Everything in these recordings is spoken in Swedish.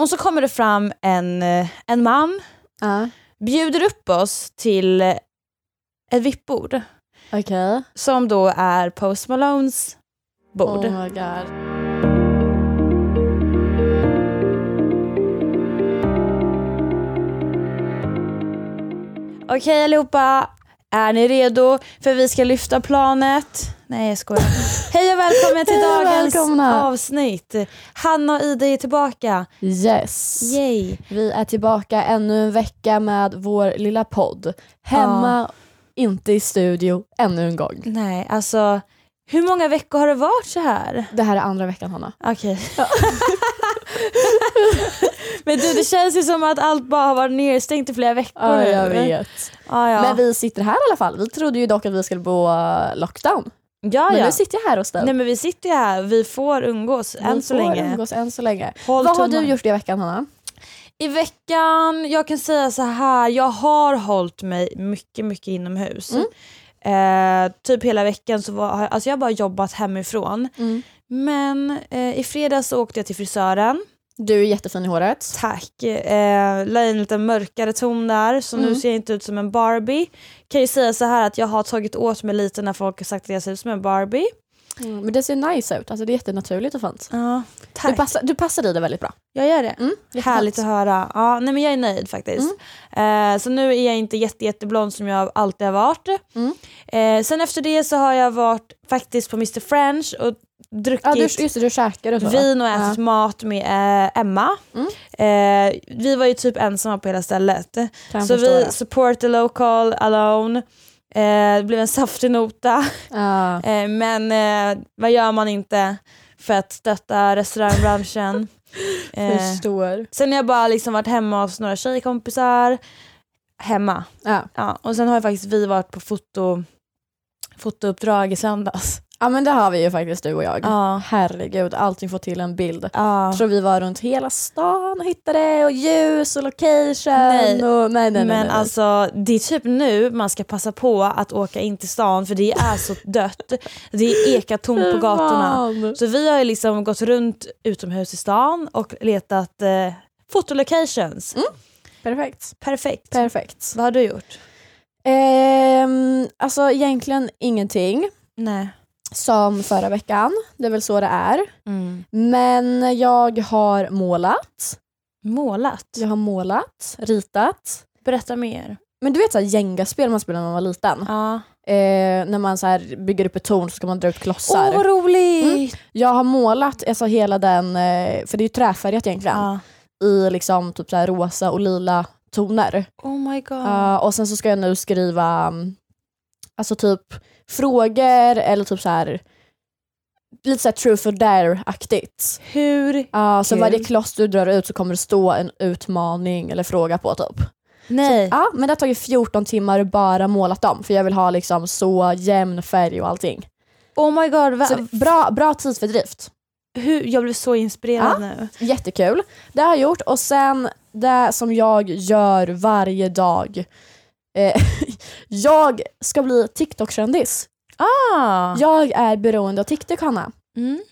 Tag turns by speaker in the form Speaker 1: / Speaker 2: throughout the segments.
Speaker 1: Och så kommer det fram en, eh, en man,
Speaker 2: Ja.
Speaker 1: bjuder upp oss till eh, ett vippbord
Speaker 2: Okej.
Speaker 1: som då är Post Malones bord.
Speaker 2: Oh my god.
Speaker 1: Okej allihopa, är ni redo? För vi ska lyfta planet. Nej jag skojar. Hej och välkommen till
Speaker 2: Hej och
Speaker 1: dagens
Speaker 2: välkomna.
Speaker 1: avsnitt. Hanna och Ida är tillbaka.
Speaker 2: Yes.
Speaker 1: Yay.
Speaker 2: Vi är tillbaka ännu en vecka med vår lilla podd. Hemma, inte i studio, ännu en gång.
Speaker 1: Nej alltså, hur många veckor har det varit så här?
Speaker 2: Det här är andra veckan Hanna.
Speaker 1: Okej. Men du det känns ju som att allt bara har varit nedstängt i flera veckor
Speaker 2: Ja,
Speaker 1: nu.
Speaker 2: jag vet.
Speaker 1: Ja, ja.
Speaker 2: Men vi sitter här i alla fall. Vi trodde ju dock att vi skulle bo eh, lockdown.
Speaker 1: ja,
Speaker 2: Men
Speaker 1: ja.
Speaker 2: nu sitter jag här hos dig.
Speaker 1: Nej men vi sitter ju här, vi får umgås än
Speaker 2: Vi
Speaker 1: så
Speaker 2: får
Speaker 1: länge.
Speaker 2: Umgås än så länge.
Speaker 1: Håll
Speaker 2: Vad har
Speaker 1: tummarna.
Speaker 2: du gjort i veckan Hanna?
Speaker 1: I veckan, jag kan säga så här, jag har hållit mig mycket, mycket inomhus.
Speaker 2: Mm.
Speaker 1: Eh, typ hela veckan så var, alltså jag har bara jobbat hemifrån.
Speaker 2: Mm.
Speaker 1: Men eh, i fredags så åkte jag till frisören.
Speaker 2: Du är jättefin i håret.
Speaker 1: Tack. Eh, la in lite mörkare ton där så nu
Speaker 2: Mm.
Speaker 1: ser jag inte ut som en Barbie. Kan ju säga så här att jag har tagit åt mig lite när folk har sagt att jag ser ut som en Barbie.
Speaker 2: Mm, men det ser nice ut. Alltså, det är jättenaturligt och fint.
Speaker 1: Ja,
Speaker 2: Du
Speaker 1: tack.
Speaker 2: passar, du passar i det väldigt bra.
Speaker 1: jag gör det.
Speaker 2: Mm, jättefint.
Speaker 1: Härligt att höra. Ja, nej men jag är nöjd faktiskt. Eh, så nu är jag inte jätte, jätteblond som jag alltid har varit.
Speaker 2: Mm.
Speaker 1: Eh, sen efter det så har jag varit faktiskt på Mr French och druckit
Speaker 2: Ja, du, just det, du käkar och så.
Speaker 1: vin och ätit mat med eh, Emma.
Speaker 2: Mm.
Speaker 1: Eh, vi var ju typ ensamma på hela stället.
Speaker 2: Kan jag
Speaker 1: Så
Speaker 2: förstå
Speaker 1: vi
Speaker 2: det.
Speaker 1: support the local alone. Eh, det blev en saftig nota.
Speaker 2: Ja.
Speaker 1: Eh, men eh, vad gör man inte för att stötta restaurangbranschen? eh,
Speaker 2: Förstår.
Speaker 1: sen har jag bara liksom varit hemma hos några tjejkompisar. Hemma.
Speaker 2: Ja.
Speaker 1: Ja, och sen har ju faktiskt vi varit på foto, fotouppdrag i söndags.
Speaker 2: ja men det har vi ju faktiskt du och jag.
Speaker 1: Ja.
Speaker 2: Herregud, allting får till en bild.
Speaker 1: Ja.
Speaker 2: Jag tror vi var runt hela stan och hittade och ljus och location.
Speaker 1: Nej.
Speaker 2: Och, nej, nej, nej,
Speaker 1: Men
Speaker 2: nej, nej.
Speaker 1: alltså det är typ nu man ska passa på att åka in till stan för det är så dött. Det är eka tomt på
Speaker 2: Fy
Speaker 1: gatorna.
Speaker 2: fan.
Speaker 1: Så vi har ju liksom gått runt utomhus i stan och letat eh, fotolocations.
Speaker 2: Mm. Perfekt.
Speaker 1: Perfekt.
Speaker 2: Perfekt.
Speaker 1: Vad har du gjort?
Speaker 2: Ehm, alltså egentligen ingenting
Speaker 1: Nej.
Speaker 2: som förra veckan. Det är väl så det är.
Speaker 1: Mm.
Speaker 2: Men jag har målat.
Speaker 1: Målat?
Speaker 2: Jag har målat, ritat.
Speaker 1: Berätta mer.
Speaker 2: Men du vet så här Jenga-spel man spelade när man var liten?
Speaker 1: Ja.
Speaker 2: Eh, när man så här bygger upp ett torn så ska man dra ut klossar.
Speaker 1: Åh vad roligt!
Speaker 2: Jag har målat alltså, hela den, eh, för det är ju träfärgat egentligen,
Speaker 1: Ja.
Speaker 2: i liksom typ så här rosa och lila toner.
Speaker 1: Oh my god.
Speaker 2: Eh, och sen så ska jag nu skriva mm, alltså typ frågor eller typ så här lite så här truth or dare-aktigt.
Speaker 1: Hur?
Speaker 2: Ja, så
Speaker 1: Kul.
Speaker 2: varje kloss du drar ut så kommer det stå en utmaning eller fråga på typ.
Speaker 1: Nej.
Speaker 2: Ja, men det har tagit 14 timmar och bara målat dem för jag vill ha liksom så jämn färg och allting.
Speaker 1: Oh my god. Va?
Speaker 2: Så det- bra, bra tidsfördrift.
Speaker 1: Hur? Jag blev så inspirerad nu.
Speaker 2: Jättekul. Det har jag gjort och sen det som jag gör varje dag. Eh, jag ska bli TikTok-kändis.
Speaker 1: Ah.
Speaker 2: Jag är beroende av TikTok Hanna
Speaker 1: Mm.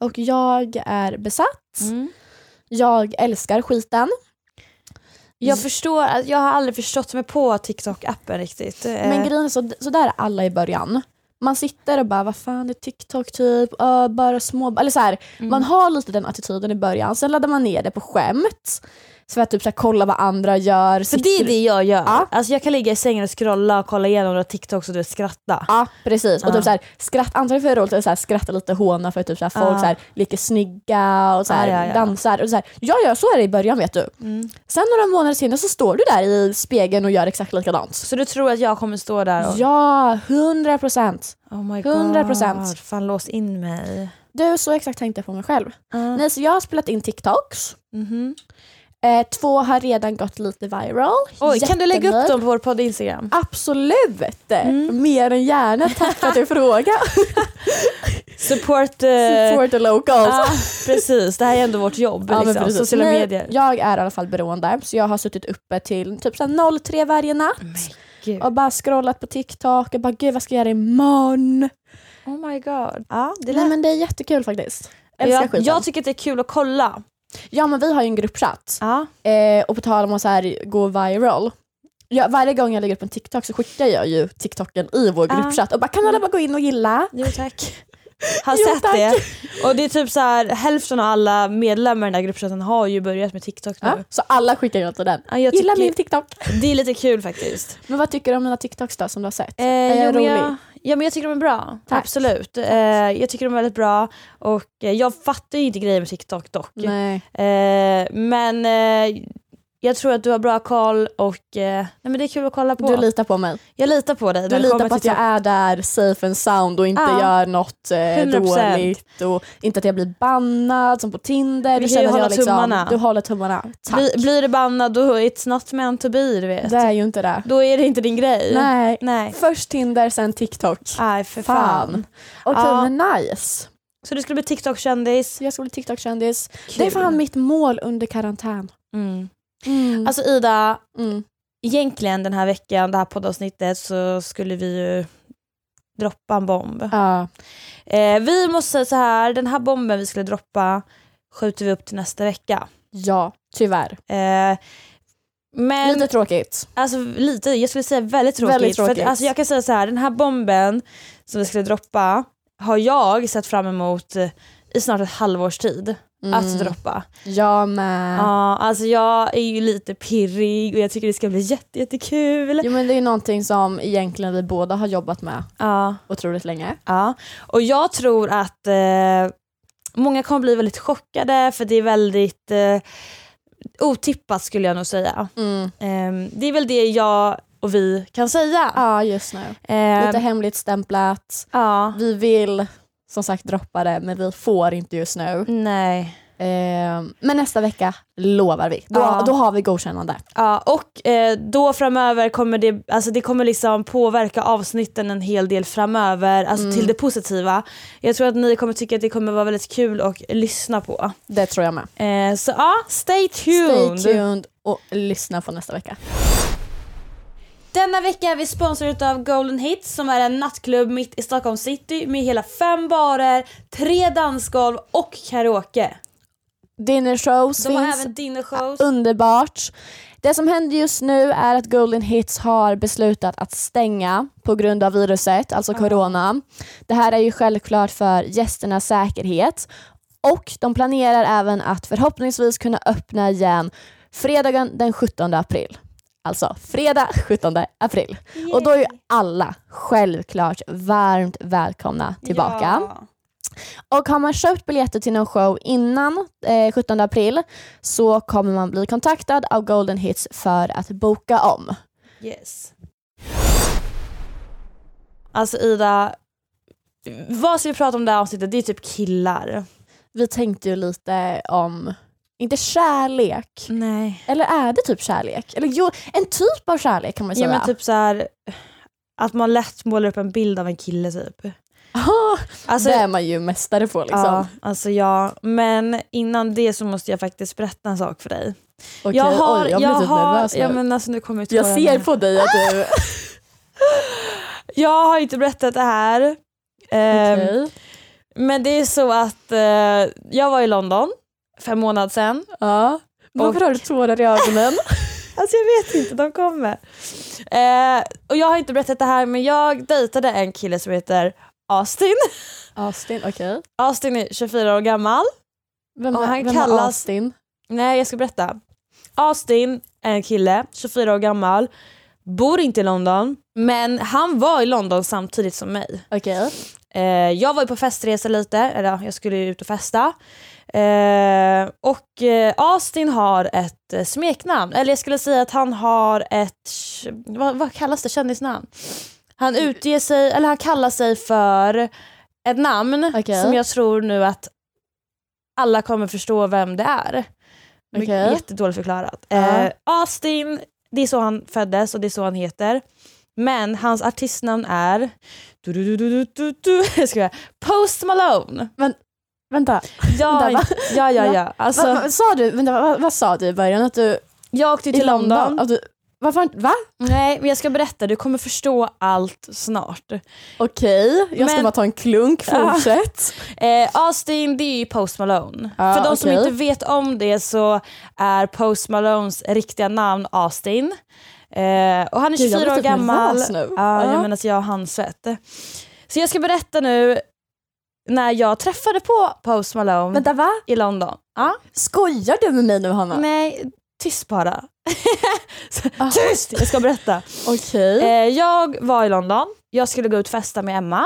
Speaker 2: och jag är besatt.
Speaker 1: Mm.
Speaker 2: Jag älskar skiten.
Speaker 1: Jag
Speaker 2: Mm.
Speaker 1: förstår, att jag har aldrig förstått mig på TikTok-appen riktigt.
Speaker 2: Men
Speaker 1: Eh,
Speaker 2: grejen är så, så där är alla i början. Man sitter och bara, vad fan det är TikTok typ, öh, bara små... Eller så här,
Speaker 1: mm.
Speaker 2: Man har lite den attityden i början, sen laddar man ner det på skämt. Så för att typ så här, kolla vad andra gör.
Speaker 1: För det är det jag gör.
Speaker 2: Ja.
Speaker 1: Alltså jag kan ligga i sängen och scrolla och kolla igenom några TikToks och du vet, skratta.
Speaker 2: Ja precis, och
Speaker 1: Ja.
Speaker 2: typ såhär, skratt, antagligen för det är roligt att så här, skratta lite och håna för att typ så här, folk
Speaker 1: Ja.
Speaker 2: så här, leker snygga och så här,
Speaker 1: Ja, ja, ja.
Speaker 2: dansar. Och så här. Ja, ja, så är det i början vet du.
Speaker 1: Mm.
Speaker 2: Sen några månader senare så står du där i spegeln och gör exakt likadant.
Speaker 1: Så du tror att jag kommer stå där och...
Speaker 2: Ja, hundra procent.
Speaker 1: Oh my
Speaker 2: 100%.
Speaker 1: god. Fan lås in mig.
Speaker 2: Du, så exakt tänkte jag på mig själv.
Speaker 1: Ja.
Speaker 2: Nej, så jag har spelat in TikToks.
Speaker 1: Mhm.
Speaker 2: Eh, två har redan gått lite viral.
Speaker 1: Oj, kan du lägga upp
Speaker 2: Jättenöjd.
Speaker 1: dem på vår podd Instagram?
Speaker 2: Absolut! Eh,
Speaker 1: Mm.
Speaker 2: Mer än gärna, tack för att du frågar.
Speaker 1: Support... Eh,
Speaker 2: Support the locals.
Speaker 1: Ja, precis. Det här är ändå vårt jobb.
Speaker 2: Ja, men
Speaker 1: liksom.
Speaker 2: precis.
Speaker 1: Sociala
Speaker 2: Nej,
Speaker 1: medier.
Speaker 2: Jag är i alla fall beroende så jag har suttit uppe till typ så här 03 varje natt
Speaker 1: Men gud.
Speaker 2: och bara scrollat på TikTok och bara gud vad ska jag göra imorgon?
Speaker 1: Oh my god. Ja, det
Speaker 2: Nej
Speaker 1: lät...
Speaker 2: men det är jättekul faktiskt. Älskar
Speaker 1: jag,
Speaker 2: skiten.
Speaker 1: jag tycker att det är kul att kolla.
Speaker 2: Ja men vi har ju en gruppchatt.
Speaker 1: Ja.
Speaker 2: Eh, och på tal om att så här, gå viral. Ja, varje gång jag lägger upp en TikTok så skickar jag ju TikToken i vår
Speaker 1: Ah.
Speaker 2: gruppchatt och bara kan alla bara gå in och gilla?
Speaker 1: Jo tack. Har
Speaker 2: Jo,
Speaker 1: sett
Speaker 2: tack.
Speaker 1: det. Och det är typ så här, hälften av alla medlemmar i den där gruppchatten har ju börjat med TikTok nu.
Speaker 2: Ja. Så alla skickar ju till den.
Speaker 1: Ja, jag
Speaker 2: Gilla
Speaker 1: tycker-
Speaker 2: min TikTok.
Speaker 1: Det är lite kul faktiskt.
Speaker 2: Men vad tycker du om mina TikToks då som du har sett?
Speaker 1: Eh,
Speaker 2: jag
Speaker 1: jo, men
Speaker 2: rolig?
Speaker 1: jag, ja men jag tycker de är bra.
Speaker 2: Tack.
Speaker 1: Absolut. Eh, jag tycker de är väldigt bra och eh, jag fattar ju inte grejer med TikTok dock.
Speaker 2: Nej.
Speaker 1: Eh, men eh, jag tror att du har bra koll och eh, nej, men det är kul att kolla på.
Speaker 2: Du litar på mig.
Speaker 1: jag litar på dig. när
Speaker 2: Du
Speaker 1: det
Speaker 2: litar
Speaker 1: kommer
Speaker 2: på att
Speaker 1: till
Speaker 2: jag är där safe and sound och inte
Speaker 1: Ja.
Speaker 2: gör något eh,
Speaker 1: 100%.
Speaker 2: dåligt och inte att jag blir bannad som på Tinder.
Speaker 1: Vi
Speaker 2: Du
Speaker 1: kan ju
Speaker 2: känner att
Speaker 1: hålla
Speaker 2: jag liksom,
Speaker 1: tummarna.
Speaker 2: Du håller tummarna. Tack.
Speaker 1: Bli, blir du bannad då it's not meant to be du vet.
Speaker 2: det är ju inte det.
Speaker 1: Då är det inte din grej.
Speaker 2: Nej.
Speaker 1: Nej.
Speaker 2: Först Tinder, sen TikTok.
Speaker 1: Aj, för fan.
Speaker 2: Fan. Okej
Speaker 1: Ja.
Speaker 2: men nice.
Speaker 1: Så du skulle bli TikTok-kändis?
Speaker 2: Jag ska bli TikTok-kändis. Det är
Speaker 1: Kul.
Speaker 2: fan mitt mål under karantän.
Speaker 1: Mm.
Speaker 2: Mm.
Speaker 1: Alltså Ida,
Speaker 2: mm.
Speaker 1: egentligen den här veckan, det här poddavsnittet, så skulle vi ju droppa en bomb.
Speaker 2: Ja.
Speaker 1: Eh, vi måste säga så här, den här bomben vi skulle droppa skjuter vi upp till nästa vecka.
Speaker 2: ja, tyvärr.
Speaker 1: Eh, men
Speaker 2: Lite tråkigt.
Speaker 1: Alltså lite, jag skulle säga väldigt tråkigt.
Speaker 2: Väldigt
Speaker 1: För
Speaker 2: tråkigt.
Speaker 1: att, alltså, jag kan säga så här, den här bomben som vi skulle droppa har jag sett fram emot eh, i snart ett halvårs tid
Speaker 2: Mm.
Speaker 1: att droppa.
Speaker 2: Jag med.
Speaker 1: Ja, alltså jag är ju lite pirrig och jag tycker det ska bli jätte, jättekul.
Speaker 2: Jo men det är ju någonting som egentligen vi båda har jobbat med
Speaker 1: Ja,
Speaker 2: otroligt länge.
Speaker 1: ja. Och jag tror att eh, många kommer bli väldigt chockade för det är väldigt eh, otippat skulle jag nog säga.
Speaker 2: Mm.
Speaker 1: Ehm, det är väl det jag och vi kan säga.
Speaker 2: Ja just nu.
Speaker 1: Ehm,
Speaker 2: Lite hemligt stämplat.
Speaker 1: ja.
Speaker 2: Vi vill som sagt droppa det men vi får inte just nu.
Speaker 1: Nej.
Speaker 2: Ehm, men nästa vecka lovar vi. Då,
Speaker 1: Ja.
Speaker 2: då har vi godkännande.
Speaker 1: Ja, och eh, då framöver kommer det, alltså det kommer liksom påverka avsnitten en hel del framöver, alltså
Speaker 2: Mm.
Speaker 1: till det positiva. Jag tror att ni kommer tycka att det kommer vara väldigt kul att lyssna på.
Speaker 2: Det tror jag med.
Speaker 1: Eh, så ja, stay tuned.
Speaker 2: Stay tuned och lyssna på nästa vecka.
Speaker 1: Denna vecka är vi sponsrade av Golden Hits som är en nattklubb mitt i Stockholm city med hela fem barer, tre dansgolv och karaoke.
Speaker 2: Dinner shows
Speaker 1: De har
Speaker 2: finns.
Speaker 1: även dinnershows.
Speaker 2: Underbart. Det som händer just nu är att Golden Hits har beslutat att stänga på grund av viruset, alltså corona. Det här är ju självklart för gästernas säkerhet och de planerar även att förhoppningsvis kunna öppna igen fredagen den 17 april. Alltså fredag 17 april. Och då är ju alla självklart varmt välkomna tillbaka.
Speaker 1: Ja.
Speaker 2: Och har man köpt biljetter till någon show innan eh, 17 april så kommer man bli kontaktad av Golden Hits för att boka om.
Speaker 1: Yes. Alltså Ida, vad ska vi prata om det här avsnittet? Det är typ killar.
Speaker 2: Vi tänkte ju lite om, inte kärlek,
Speaker 1: Nej.
Speaker 2: eller är det typ kärlek? Eller jo, en typ av kärlek kan man ju
Speaker 1: Ja
Speaker 2: säga.
Speaker 1: men typ så här att man lätt målar upp en bild av en kille typ.
Speaker 2: Ah,
Speaker 1: Alltså,
Speaker 2: det är man ju mästare på liksom.
Speaker 1: ja, alltså ja, men innan det så måste jag faktiskt berätta en sak för dig.
Speaker 2: Okej,
Speaker 1: jag har,
Speaker 2: oj, jag blir typ nervös
Speaker 1: ja,
Speaker 2: nu.
Speaker 1: men alltså, nu kommer jag, inte
Speaker 2: Jag
Speaker 1: på
Speaker 2: ser
Speaker 1: den.
Speaker 2: på dig att du...
Speaker 1: jag har inte berättat det här. Ehm,
Speaker 2: Okej.
Speaker 1: Men det är så att eh, jag var i London för en månad sedan
Speaker 2: Ja. Varför har du tårar i ögonen?
Speaker 1: Alltså jag vet inte, de kommer. Eh, och jag har inte berättat det här men jag dejtade en kille som heter Austin.
Speaker 2: Austin, okej.
Speaker 1: Austin är 24 år gammal.
Speaker 2: Vem,
Speaker 1: Och han
Speaker 2: vem
Speaker 1: kallas-
Speaker 2: är Austin?
Speaker 1: Nej jag ska berätta. Austin är en kille, 24 år gammal, bor inte i London men han var i London samtidigt som mig.
Speaker 2: Okej.
Speaker 1: Eh, jag var ju på festresa lite, eller ja, jag skulle ju ut och festa. Eh, och eh, Austin har ett eh, smeknamn, eller jag skulle säga att han har ett, vad, vad kallas det, kändisnamn? Han
Speaker 2: Mm.
Speaker 1: utger sig, eller han kallar sig för ett namn
Speaker 2: Okej.
Speaker 1: som jag tror nu att alla kommer förstå vem det är. My-
Speaker 2: Okej.
Speaker 1: Jättedåligt förklarat.
Speaker 2: Ja.
Speaker 1: Eh, Austin, det är så han föddes och det är så han heter. Men hans artistnamn är du, du, du, du, du, du, jag skojar. Post Malone.
Speaker 2: Vänta.
Speaker 1: Ja,
Speaker 2: Vänta, va?
Speaker 1: ja, ja. ja. Alltså,
Speaker 2: Va, va, sa du, vänta, va, vad sa du i början? Att du
Speaker 1: jag åkte ju till London.
Speaker 2: Att du, Varför har inte- Va?
Speaker 1: Nej, men jag ska berätta. Du kommer förstå allt snart.
Speaker 2: Okej, jag ska
Speaker 1: Men-
Speaker 2: bara ta en klunk.
Speaker 1: Ja.
Speaker 2: Fortsätt.
Speaker 1: Eh, Austin, det är ju Post Malone.
Speaker 2: Ja,
Speaker 1: För de som
Speaker 2: okej.
Speaker 1: inte vet om det så är Post Malones riktiga namn Austin. Eh, och han är
Speaker 2: Gud,
Speaker 1: 24
Speaker 2: jag blir
Speaker 1: år
Speaker 2: typ
Speaker 1: gammal.
Speaker 2: nervös nu.
Speaker 1: Ja,
Speaker 2: Ja.
Speaker 1: jag menar att jag har handsvett. Så jag ska berätta nu när jag träffade på Post Malone
Speaker 2: Vänta va?
Speaker 1: i London. Ja.
Speaker 2: Skojar du med mig nu Hanna?
Speaker 1: Nej, tyst bara. Så,
Speaker 2: Ah.
Speaker 1: Tyst! Jag ska berätta.
Speaker 2: Okej.
Speaker 1: Eh, jag var i London, jag skulle gå ut och festa med Emma.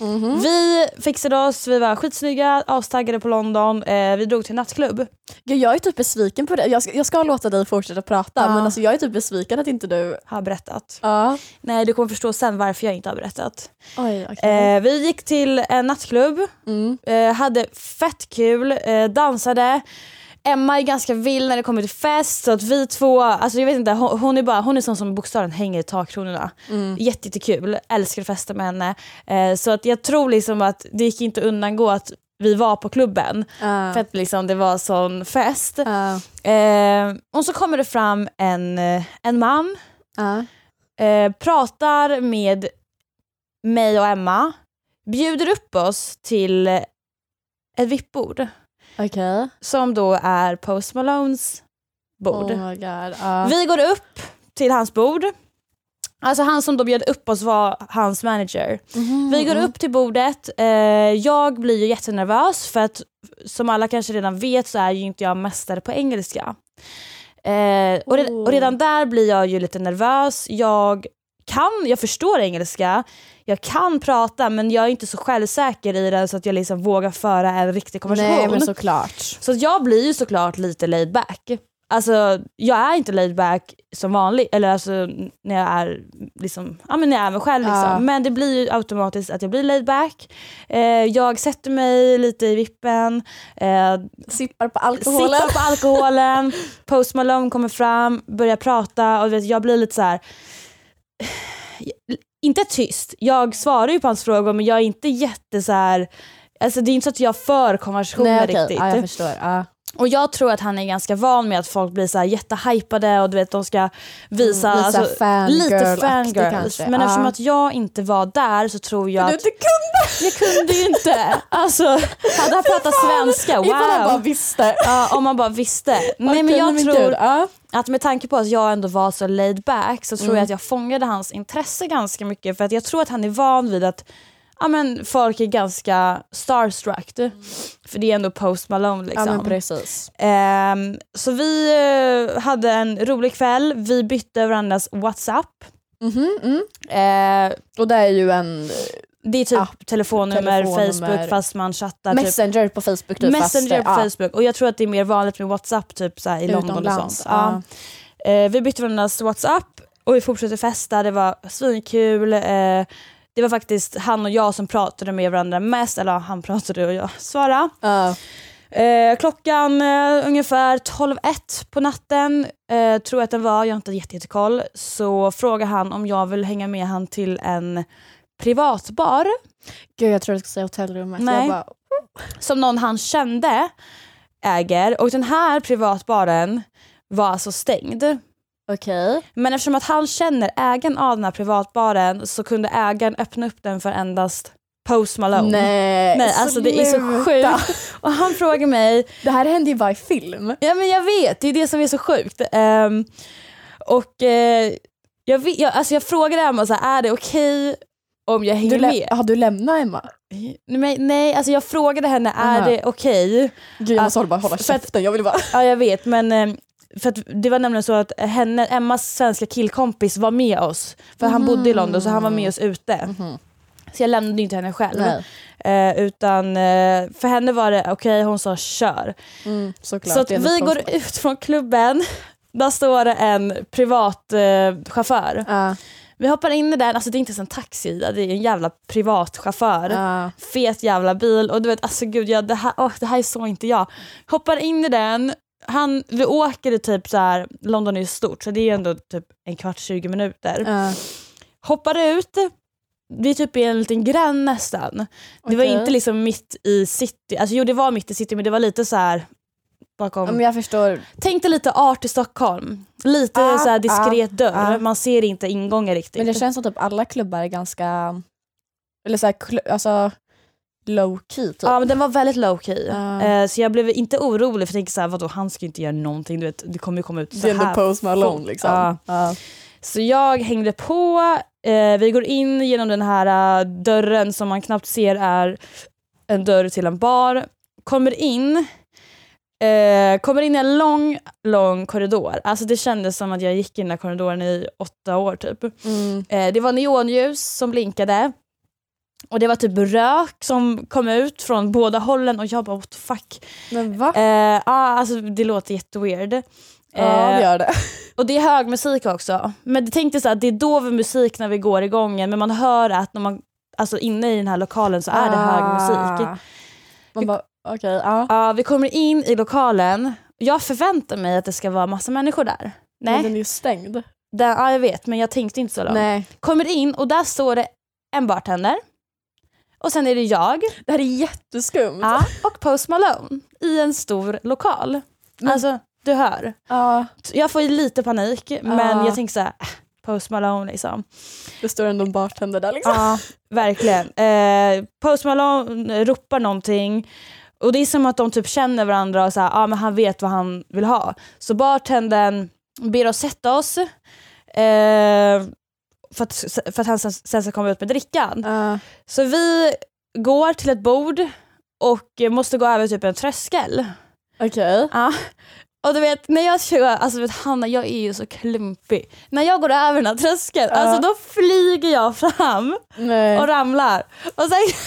Speaker 1: Mm.
Speaker 2: Mhm.
Speaker 1: Vi fixade oss, vi var skitsnygga, astaggade på London, eh, vi drog till nattklubb.
Speaker 2: Gud, jag är typ besviken på det. Jag ska, jag ska låta dig fortsätta prata
Speaker 1: Ja.
Speaker 2: men alltså, jag är typ besviken att inte du...
Speaker 1: Har jag berättat.
Speaker 2: Ja.
Speaker 1: Nej du kommer förstå sen varför jag inte har berättat.
Speaker 2: Oj, okej.
Speaker 1: Eh, vi gick till en nattklubb,
Speaker 2: Mm.
Speaker 1: eh, hade fett kul, eh, dansade. Emma är ganska vild när det kommer till fest så att vi två, alltså jag vet inte, hon, hon är bara, hon är sån som bokstavligen hänger i takkronorna.
Speaker 2: Mm.
Speaker 1: Jätte, jättekul, älskar att festa med henne. Eh, så att jag tror liksom att det gick inte att undangå att vi var på klubben
Speaker 2: Ja.
Speaker 1: för att liksom det var sån fest.
Speaker 2: Ja.
Speaker 1: Eh, och så kommer det fram en, eh, en man,
Speaker 2: Ja.
Speaker 1: eh, pratar med mig och Emma, bjuder upp oss till eh, ett vippbord
Speaker 2: Okej.
Speaker 1: som då är Post Malones bord.
Speaker 2: Oh my god. Ja.
Speaker 1: Vi går upp till hans bord. Alltså han som då bjöd upp oss var hans manager.
Speaker 2: Mhm.
Speaker 1: Vi går upp till bordet, eh, jag blir ju jättenervös för att som alla kanske redan vet så är ju inte jag mästare på engelska. Eh, och, re-
Speaker 2: Oh.
Speaker 1: och redan där blir jag ju lite nervös. Jag kan, jag förstår engelska, jag kan prata men jag är inte så självsäker i den så att jag liksom vågar föra en riktig konversation.
Speaker 2: Nej men
Speaker 1: så
Speaker 2: såklart.
Speaker 1: att jag blir ju såklart lite laid back. Alltså jag är inte laid back som vanligt, eller alltså när jag är, liksom, ja, men när jag är mig själv. Liksom.
Speaker 2: Ja.
Speaker 1: Men det blir ju automatiskt att jag blir laid back. Eh, jag sätter mig lite i vippen, eh,
Speaker 2: Sippar på alkoholen.
Speaker 1: sippar på alkoholen, Post Malone kommer fram, börjar prata och du vet, jag blir lite så här. Inte tyst, jag svarar ju på hans frågor men jag är inte jätte så här. Alltså det är inte så att jag för konversationer
Speaker 2: Nej okej,
Speaker 1: riktigt.
Speaker 2: ja, jag förstår. Ja.
Speaker 1: Och jag tror att han är ganska van med att folk blir så här jättehypade och du vet de ska visa, alltså,
Speaker 2: Mm, visa fangirl-aktig
Speaker 1: lite fangirls.
Speaker 2: kanske,
Speaker 1: Men
Speaker 2: ja.
Speaker 1: eftersom att jag inte var där så tror jag
Speaker 2: Du
Speaker 1: att
Speaker 2: inte kunde!
Speaker 1: jag kunde ju inte. Alltså, hade han pratat svenska, wow.
Speaker 2: Ifall han bara visste.
Speaker 1: Ja, om man bara visste. Nej men
Speaker 2: Okej,
Speaker 1: jag
Speaker 2: men
Speaker 1: tror
Speaker 2: gud, ja.
Speaker 1: att med tanke på att jag ändå var så laid back så tror
Speaker 2: Mm.
Speaker 1: jag att jag fångade hans intresse ganska mycket för att jag tror att han är van vid att ja, men, folk är ganska starstruck. För det är ändå Post Malone
Speaker 2: Mm. ja
Speaker 1: liksom.
Speaker 2: men precis.
Speaker 1: Ehm, så vi eh, hade en rolig kväll, vi bytte varandras WhatsApp.
Speaker 2: Mhm, mm.
Speaker 1: Ehm,
Speaker 2: Och det är ju en
Speaker 1: det är typ
Speaker 2: App,
Speaker 1: telefonnummer,
Speaker 2: telefonnummer.
Speaker 1: Facebook fast man chattar. Typ.
Speaker 2: messenger på Facebook. Typ, fast
Speaker 1: Messenger
Speaker 2: det-
Speaker 1: på
Speaker 2: ja.
Speaker 1: Facebook och jag tror att det är mer vanligt med WhatsApp typ så här, i London och
Speaker 2: Utomlands,
Speaker 1: sånt. Ja. Ehm, vi bytte varandras WhatsApp och vi fortsatte festa, det var svinkul. Ehm, det var faktiskt han och jag som pratade med varandra mest, eller ja, han pratade och jag svarade.
Speaker 2: Ja.
Speaker 1: Eh, klockan eh, ungefär 12.01 på natten, eh, tror jag att det var, jag har inte jätte- jättekoll, så frågar han om jag vill hänga med han till en privatbar
Speaker 2: Gud jag tror jag ska säga hotellrummet.
Speaker 1: Nej.
Speaker 2: Jag bara,
Speaker 1: som någon han kände äger och den här privatbaren var alltså stängd.
Speaker 2: okej.
Speaker 1: Men eftersom att han känner ägaren av den här privatbaren så kunde ägaren öppna upp den för endast Post Malone.
Speaker 2: Nej,
Speaker 1: Nej, alltså det är så
Speaker 2: sluta.
Speaker 1: sjukt. Och han frågar mig
Speaker 2: Det här hände ju bara i film.
Speaker 1: Ja men jag vet, det är det som är så sjukt. Ehm, och eh, jag, vet, jag, alltså jag frågade Emma, så här, är det okej om jag
Speaker 2: Du
Speaker 1: hänger
Speaker 2: lä-
Speaker 1: med?
Speaker 2: har du lämnat Emma?
Speaker 1: Nej, nej, alltså jag frågade henne, är
Speaker 2: Aha.
Speaker 1: det okej?
Speaker 2: Gud jag
Speaker 1: Ja,
Speaker 2: måste hålla- bara hålla
Speaker 1: för att-
Speaker 2: käften, jag vill bara...
Speaker 1: Ja jag vet men ehm, för att det var nämligen så att henne, Emmas svenska killkompis var med oss. För han bodde i London så han var med oss ute.
Speaker 2: Mhm.
Speaker 1: Så jag lämnade ju inte henne själv. Eh, utan eh, för henne var det okej, hon sa kör.
Speaker 2: Mm, såklart.
Speaker 1: Så att
Speaker 2: Det är
Speaker 1: vi
Speaker 2: något
Speaker 1: går
Speaker 2: konstigt.
Speaker 1: ut från klubben, där står det en privat eh, chaufför.
Speaker 2: Ja,
Speaker 1: Vi hoppar in i den, alltså det är inte ens en taxi Ida, det är en jävla privat chaufför.
Speaker 2: ja.
Speaker 1: Fet jävla bil och du vet alltså gud jag, det, här, åh, det här är så inte jag. Hoppar in i den, han, vi åker i typ så här, London är ju stort så det är ju ändå typ en kvart, 20 minuter.
Speaker 2: ja.
Speaker 1: Hoppar ut, vi är typ i en liten grann nästan. Det var
Speaker 2: Okej.
Speaker 1: inte liksom mitt i city, alltså jo det var mitt i city men det var lite så här bakom.
Speaker 2: Om jag förstår.
Speaker 1: Tänk dig lite art i Stockholm. Lite
Speaker 2: Ah,
Speaker 1: så här diskret dörr,
Speaker 2: ah.
Speaker 1: man ser inte ingången riktigt.
Speaker 2: Men det känns som typ alla klubbar är ganska, eller såhär, kl- alltså low key typ.
Speaker 1: Ja men den var väldigt low key.
Speaker 2: Ah.
Speaker 1: Eh, så jag blev inte orolig för jag tänkte såhär, vadå han ska ju inte göra någonting, du vet det kommer ju komma ut så
Speaker 2: det är ändå
Speaker 1: här.
Speaker 2: Post Malone liksom.
Speaker 1: Ja.
Speaker 2: Ja.
Speaker 1: Så jag hängde på, eh, vi går in genom den här eh, dörren som man knappt ser är en dörr till en bar. Kommer in, eh, kommer in i en lång, lång korridor. Alltså det kändes som att jag gick i den här korridoren i åtta år typ.
Speaker 2: Mm.
Speaker 1: Eh, det var neonljus som blinkade och det var typ rök som kom ut från båda hållen och jag bara what the fuck.
Speaker 2: Men va?
Speaker 1: Eh, ah, alltså det låter jätteweird.
Speaker 2: ja,
Speaker 1: Eh,
Speaker 2: vi gör det.
Speaker 1: och det är hög musik också. Men det tänkte så att det är dov musik när vi går i gången men man hör att när man alltså inne i den här lokalen så är det hög musik.
Speaker 2: Ah. Man bara, okej, ja.
Speaker 1: Ja, vi kommer in i lokalen. Jag förväntar mig att det ska vara massa människor där.
Speaker 2: Men
Speaker 1: Nej,
Speaker 2: den är ju stängd.
Speaker 1: det, ja, jag vet men jag tänkte inte så långt.
Speaker 2: Nej.
Speaker 1: Kommer in och där står det en bartender och sen är det jag
Speaker 2: Det här är jätteskumt.
Speaker 1: Mm. ja, och Post Malone i en stor lokal.
Speaker 2: Men-
Speaker 1: Alltså du hör.
Speaker 2: Ja,
Speaker 1: Jag får ju lite panik men
Speaker 2: Ja.
Speaker 1: jag tänker så här, äh, Post Malone liksom.
Speaker 2: det står ändå en bartender där liksom.
Speaker 1: Ja, verkligen. Eh, Post Malone ropar någonting och det är som att de typ känner varandra och så här, ah, men han vet vad han vill ha. Så bartendern ber oss sätta oss eh, för, att, för att han sen, sen ska komma ut med drickan.
Speaker 2: Ja.
Speaker 1: Så vi går till ett bord och eh, måste gå över typ en tröskel.
Speaker 2: Okej.
Speaker 1: Ja. Och du vet, när jag kör, alltså vet Hanna jag är ju så klumpig. När jag går över den här tröskeln,
Speaker 2: Ja. Eh.
Speaker 1: alltså då flyger jag fram
Speaker 2: Nej.
Speaker 1: och ramlar. Och sen,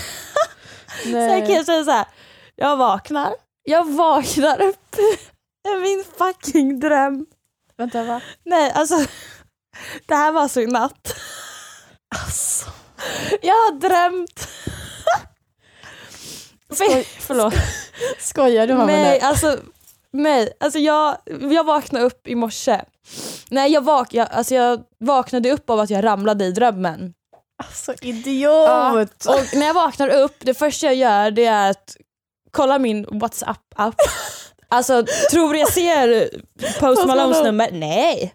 Speaker 1: sen
Speaker 2: Eh.
Speaker 1: kan jag säga så här. jag vaknar, jag vaknar upp i min fucking dröm.
Speaker 2: Vänta va?
Speaker 1: Nej alltså, det här var så i natt.
Speaker 2: Alltså.
Speaker 1: Jag har drömt.
Speaker 2: Skoj-
Speaker 1: Förlåt.
Speaker 2: Skojar du mamma
Speaker 1: Nej,
Speaker 2: nu?
Speaker 1: alltså, nej. Alltså jag, jag vaknade upp i morse. Nej, jag, vak, jag, alltså jag vaknade upp av att jag ramlade i drömmen.
Speaker 2: Alltså
Speaker 1: Ja,
Speaker 2: idiot!
Speaker 1: Och när jag vaknar upp, det första jag gör det är att kolla min WhatsApp-app. Alltså, tror du jag ser Post Malones
Speaker 2: Malone.
Speaker 1: nummer? Nej.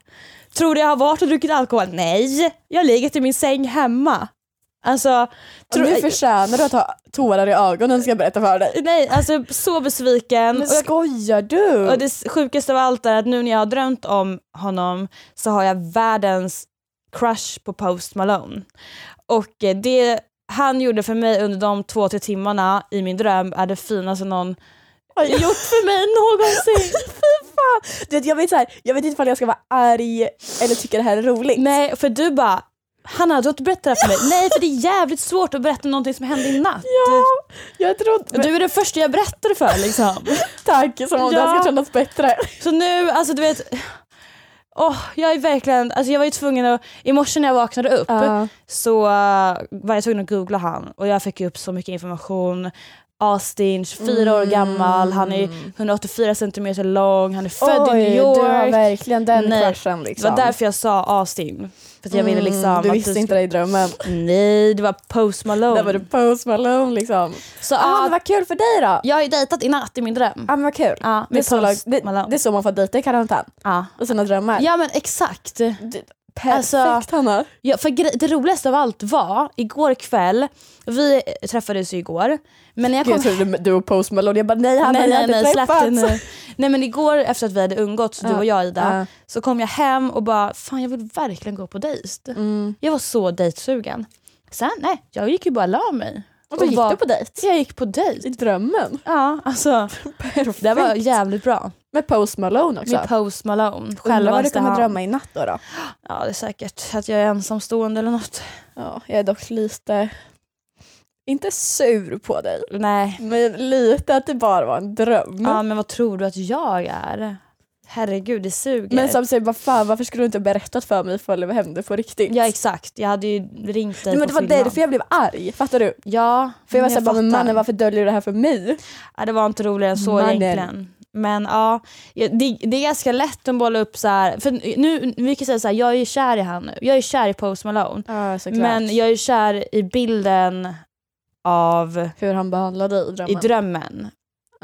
Speaker 1: Tror du jag har varit och druckit alkohol? Nej. Jag ligger i min säng hemma. Alltså,
Speaker 2: Tror
Speaker 1: tror,
Speaker 2: nu förtjänar du att ha tårar i ögonen ska jag berätta för dig.
Speaker 1: nej, alltså så besviken.
Speaker 2: Men
Speaker 1: Och jag
Speaker 2: skojar du?
Speaker 1: Och det sjukaste av allt är att nu när jag har drömt om honom så har jag världens crush på Post Malone. Och eh, det han gjorde för mig under de två, tre timmarna i min dröm är det finaste någon
Speaker 2: Oj.
Speaker 1: gjort för mig någonsin.
Speaker 2: Du vet, jag, vet så här, jag vet inte ifall jag ska vara arg eller tycka det här är roligt.
Speaker 1: Nej, för du bara Hanna, du har inte berättat det här för mig. Nej, för det är jävligt svårt att berätta någonting som hände i natt.
Speaker 2: Jag trodde...
Speaker 1: Du är den första jag berättar för liksom.
Speaker 2: Tack, som om det här
Speaker 1: Ja.
Speaker 2: ska kännas bättre.
Speaker 1: Så nu, alltså du vet, åh jag är verkligen, alltså jag var ju tvungen att, i morse när jag vaknade upp så eh, var jag tvungen att googla han och jag fick upp så mycket information. Austin, 24 år
Speaker 2: Mm.
Speaker 1: gammal, han är 184 centimeter lång, han är född
Speaker 2: Oj,
Speaker 1: i New
Speaker 2: du har
Speaker 1: York.
Speaker 2: verkligen den
Speaker 1: Nej,
Speaker 2: crushen
Speaker 1: Det
Speaker 2: liksom.
Speaker 1: var därför jag sa Austin. För att jag ville
Speaker 2: Mm,
Speaker 1: liksom...
Speaker 2: Du
Speaker 1: att
Speaker 2: visste
Speaker 1: skulle-
Speaker 2: inte det i drömmen.
Speaker 1: Nej, det var Post Malone.
Speaker 2: Där var det Post Malone liksom.
Speaker 1: Så
Speaker 2: Ah,
Speaker 1: ja,
Speaker 2: men vad kul för dig då!
Speaker 1: jag har ju dejtat i natt i min dröm.
Speaker 2: Ah, men vad kul.
Speaker 1: Ja,
Speaker 2: Det är,
Speaker 1: med
Speaker 2: så,
Speaker 1: Post
Speaker 2: lag- det,
Speaker 1: Malone.
Speaker 2: det är så man får dejta i karantän.
Speaker 1: ja.
Speaker 2: Och sina drömmar.
Speaker 1: ja men exakt.
Speaker 2: Du- Perfekt
Speaker 1: Alltså-
Speaker 2: Hanna.
Speaker 1: Ja, för gre- det roligaste av allt var igår kväll, vi eh, träffades ju igår, men när jag kom
Speaker 2: Jag trodde du- du och Post Malone, jag bara nej Hanna
Speaker 1: nej,
Speaker 2: vi har
Speaker 1: nej,
Speaker 2: inte
Speaker 1: nej, släpp det
Speaker 2: träffats.
Speaker 1: nu. Nej men igår efter att vi hade umgåtts, du
Speaker 2: Ja.
Speaker 1: och jag Ida,
Speaker 2: Ja.
Speaker 1: så kom jag hem och bara fan jag vill verkligen gå på dejt.
Speaker 2: Mm.
Speaker 1: Jag var så dejtsugen. Sen nej, jag gick ju bara och la mig.
Speaker 2: Och då gick
Speaker 1: var-
Speaker 2: du på dejt?
Speaker 1: Jag gick på
Speaker 2: I
Speaker 1: dejt.
Speaker 2: drömmen?
Speaker 1: Ja, alltså
Speaker 2: Perfekt.
Speaker 1: det var jävligt bra.
Speaker 2: Med Post Malone också.
Speaker 1: Med Post Malone,
Speaker 2: Undrar vad du
Speaker 1: självaste
Speaker 2: kommer
Speaker 1: han.
Speaker 2: drömma i natt då? då?
Speaker 1: Ja det är säkert att jag är ensamstående eller något.
Speaker 2: Ja, jag är dock lite, inte sur på dig,
Speaker 1: Nej.
Speaker 2: men lite att det bara var en dröm.
Speaker 1: Ja men vad tror du att jag är? Herregud det suger.
Speaker 2: men som säger, vad fan varför skulle du inte ha berättat för mig ifall det hände på riktigt?
Speaker 1: Ja exakt, jag hade ju ringt dig
Speaker 2: men
Speaker 1: på
Speaker 2: det var
Speaker 1: filmen.
Speaker 2: därför jag blev arg, fattar du?
Speaker 1: Ja,
Speaker 2: För Mm, jag var
Speaker 1: men
Speaker 2: såhär, men
Speaker 1: fattar.
Speaker 2: mannen varför döljer du det här för mig?
Speaker 1: Ja, det var inte roligare än så
Speaker 2: Mannen.
Speaker 1: egentligen. Men ja, ja, det, det är ganska lätt att bolla upp så här. För nu, vi kan säga så här, jag är ju kär i han nu. Jag är kär i Post Malone.
Speaker 2: Ja såklart.
Speaker 1: Men jag är kär i bilden av,
Speaker 2: Hur han behandlade dig i drömmen. Ah.
Speaker 1: i drömmen.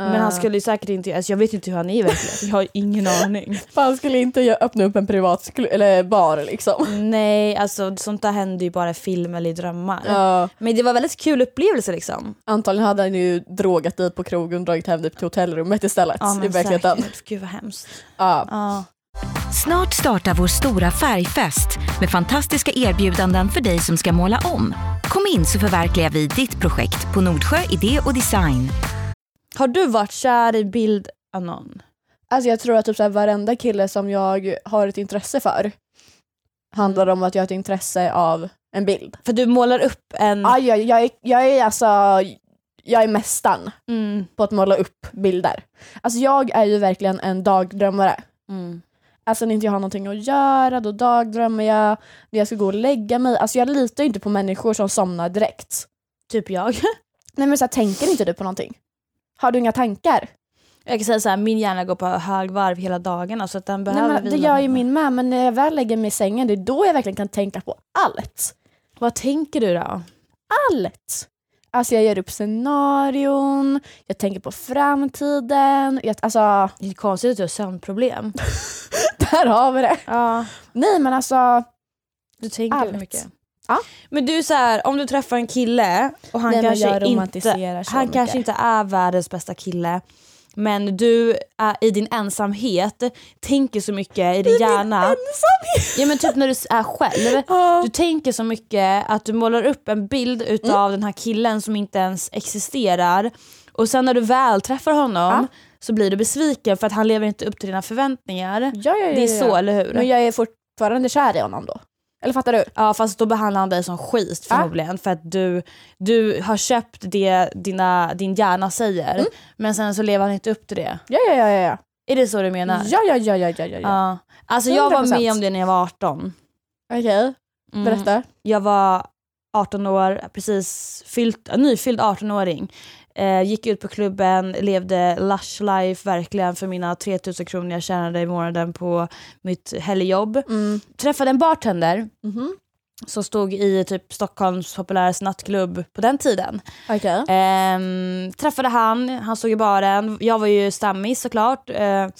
Speaker 1: Men han skulle ju säkert inte, alltså jag vet inte hur han är i verkligheten, jag har ingen aning.
Speaker 2: Han skulle inte gö- öppna upp en privat sklu- eller bar liksom.
Speaker 1: Nej, alltså sånt där händer ju bara i film eller i drömmar.
Speaker 2: Ja.
Speaker 1: Men det var väldigt kul upplevelse liksom.
Speaker 2: Antagligen hade han ju drogat dit på krogen och dragit hem dig till hotellrummet istället i
Speaker 1: men
Speaker 2: verkligheten.
Speaker 1: säkert. Typ, Gud vad hemskt.
Speaker 2: Ja.
Speaker 1: Ja.
Speaker 3: Snart startar vår stora färgfest med fantastiska erbjudanden för dig som ska måla om. Kom in så förverkligar vi ditt projekt på Nordsjö Idé och Design.
Speaker 1: Har du varit kär i bild av någon?
Speaker 2: Alltså jag tror att typ så här, varenda kille som jag har ett intresse för handlar
Speaker 1: Mm.
Speaker 2: om att jag har ett intresse av en bild.
Speaker 1: För du målar upp en...
Speaker 2: Aj, aj, jag, är, jag är alltså, jag är mästaren
Speaker 1: Mm.
Speaker 2: på att måla upp bilder. Alltså jag är ju verkligen en dagdrömmare.
Speaker 1: Mm.
Speaker 2: Alltså när inte jag har någonting att göra, då dagdrömmer jag. När jag ska gå och lägga mig. Alltså jag litar ju inte på människor som somnar direkt.
Speaker 1: Typ jag.
Speaker 2: Nej men så här, tänker inte du på någonting? Har du inga tankar?
Speaker 1: Jag kan säga så här, min hjärna går på högvarv hela dagarna så att den
Speaker 2: Nej,
Speaker 1: behöver
Speaker 2: men, det
Speaker 1: vila
Speaker 2: gör ju
Speaker 1: lite.
Speaker 2: min med, men när jag väl lägger mig i sängen, det är då jag verkligen kan tänka på allt.
Speaker 1: Vad tänker du då?
Speaker 2: Allt! Alltså jag gör upp scenarion, jag tänker på framtiden. Jag, alltså,
Speaker 1: Det är konstigt att du har sömnproblem.
Speaker 2: där har vi det.
Speaker 1: Ja.
Speaker 2: Nej men alltså,
Speaker 1: Du tänker
Speaker 2: Allt.
Speaker 1: mycket.
Speaker 2: Ja.
Speaker 1: Men du är så här, om du träffar en kille och han
Speaker 2: nej, men
Speaker 1: kanske
Speaker 2: jag
Speaker 1: inte
Speaker 2: romantiserar så
Speaker 1: han
Speaker 2: mycket.
Speaker 1: kanske inte är världens bästa kille men du är i din ensamhet tänker så mycket i din hjärna. Ja men typ när du är själv.
Speaker 2: Ja.
Speaker 1: Du tänker så mycket att du målar upp en bild utav
Speaker 2: Mm.
Speaker 1: den här killen som inte ens existerar och sen när du väl träffar honom så blir du besviken för att han lever inte upp till dina förväntningar.
Speaker 2: Ja, ja, ja,
Speaker 1: Det är
Speaker 2: ja.
Speaker 1: så, eller hur?
Speaker 2: Men jag är fortfarande kär i honom då. Eller fattar du?
Speaker 1: Ja fast då behandlar han dig som skit förmodligen för att du, du har köpt det dina, din hjärna säger
Speaker 2: Mm.
Speaker 1: men sen så lever han inte upp till det.
Speaker 2: Ja, ja, ja, ja.
Speaker 1: Är det så du
Speaker 2: Ja,
Speaker 1: menar?
Speaker 2: ja, ja, ja, ja, ja. ja.
Speaker 1: Ja. Alltså jag var
Speaker 2: 100%.
Speaker 1: med om det när jag var 18.
Speaker 2: Okej,
Speaker 1: Mm.
Speaker 2: berätta.
Speaker 1: Jag var 18 år, precis fyllt, nyfylld 18-åring. Eh, gick ut på klubben, levde lush life verkligen för mina 3000 kronor jag tjänade i månaden på mitt helgjobb.
Speaker 2: Mm.
Speaker 1: Träffade en bartender
Speaker 2: Mhm.
Speaker 1: som stod i typ Stockholms populäraste nattklubb på den tiden.
Speaker 2: Okej.
Speaker 1: Ehm, träffade han, han stod i baren, jag var ju stammis såklart. Ehm,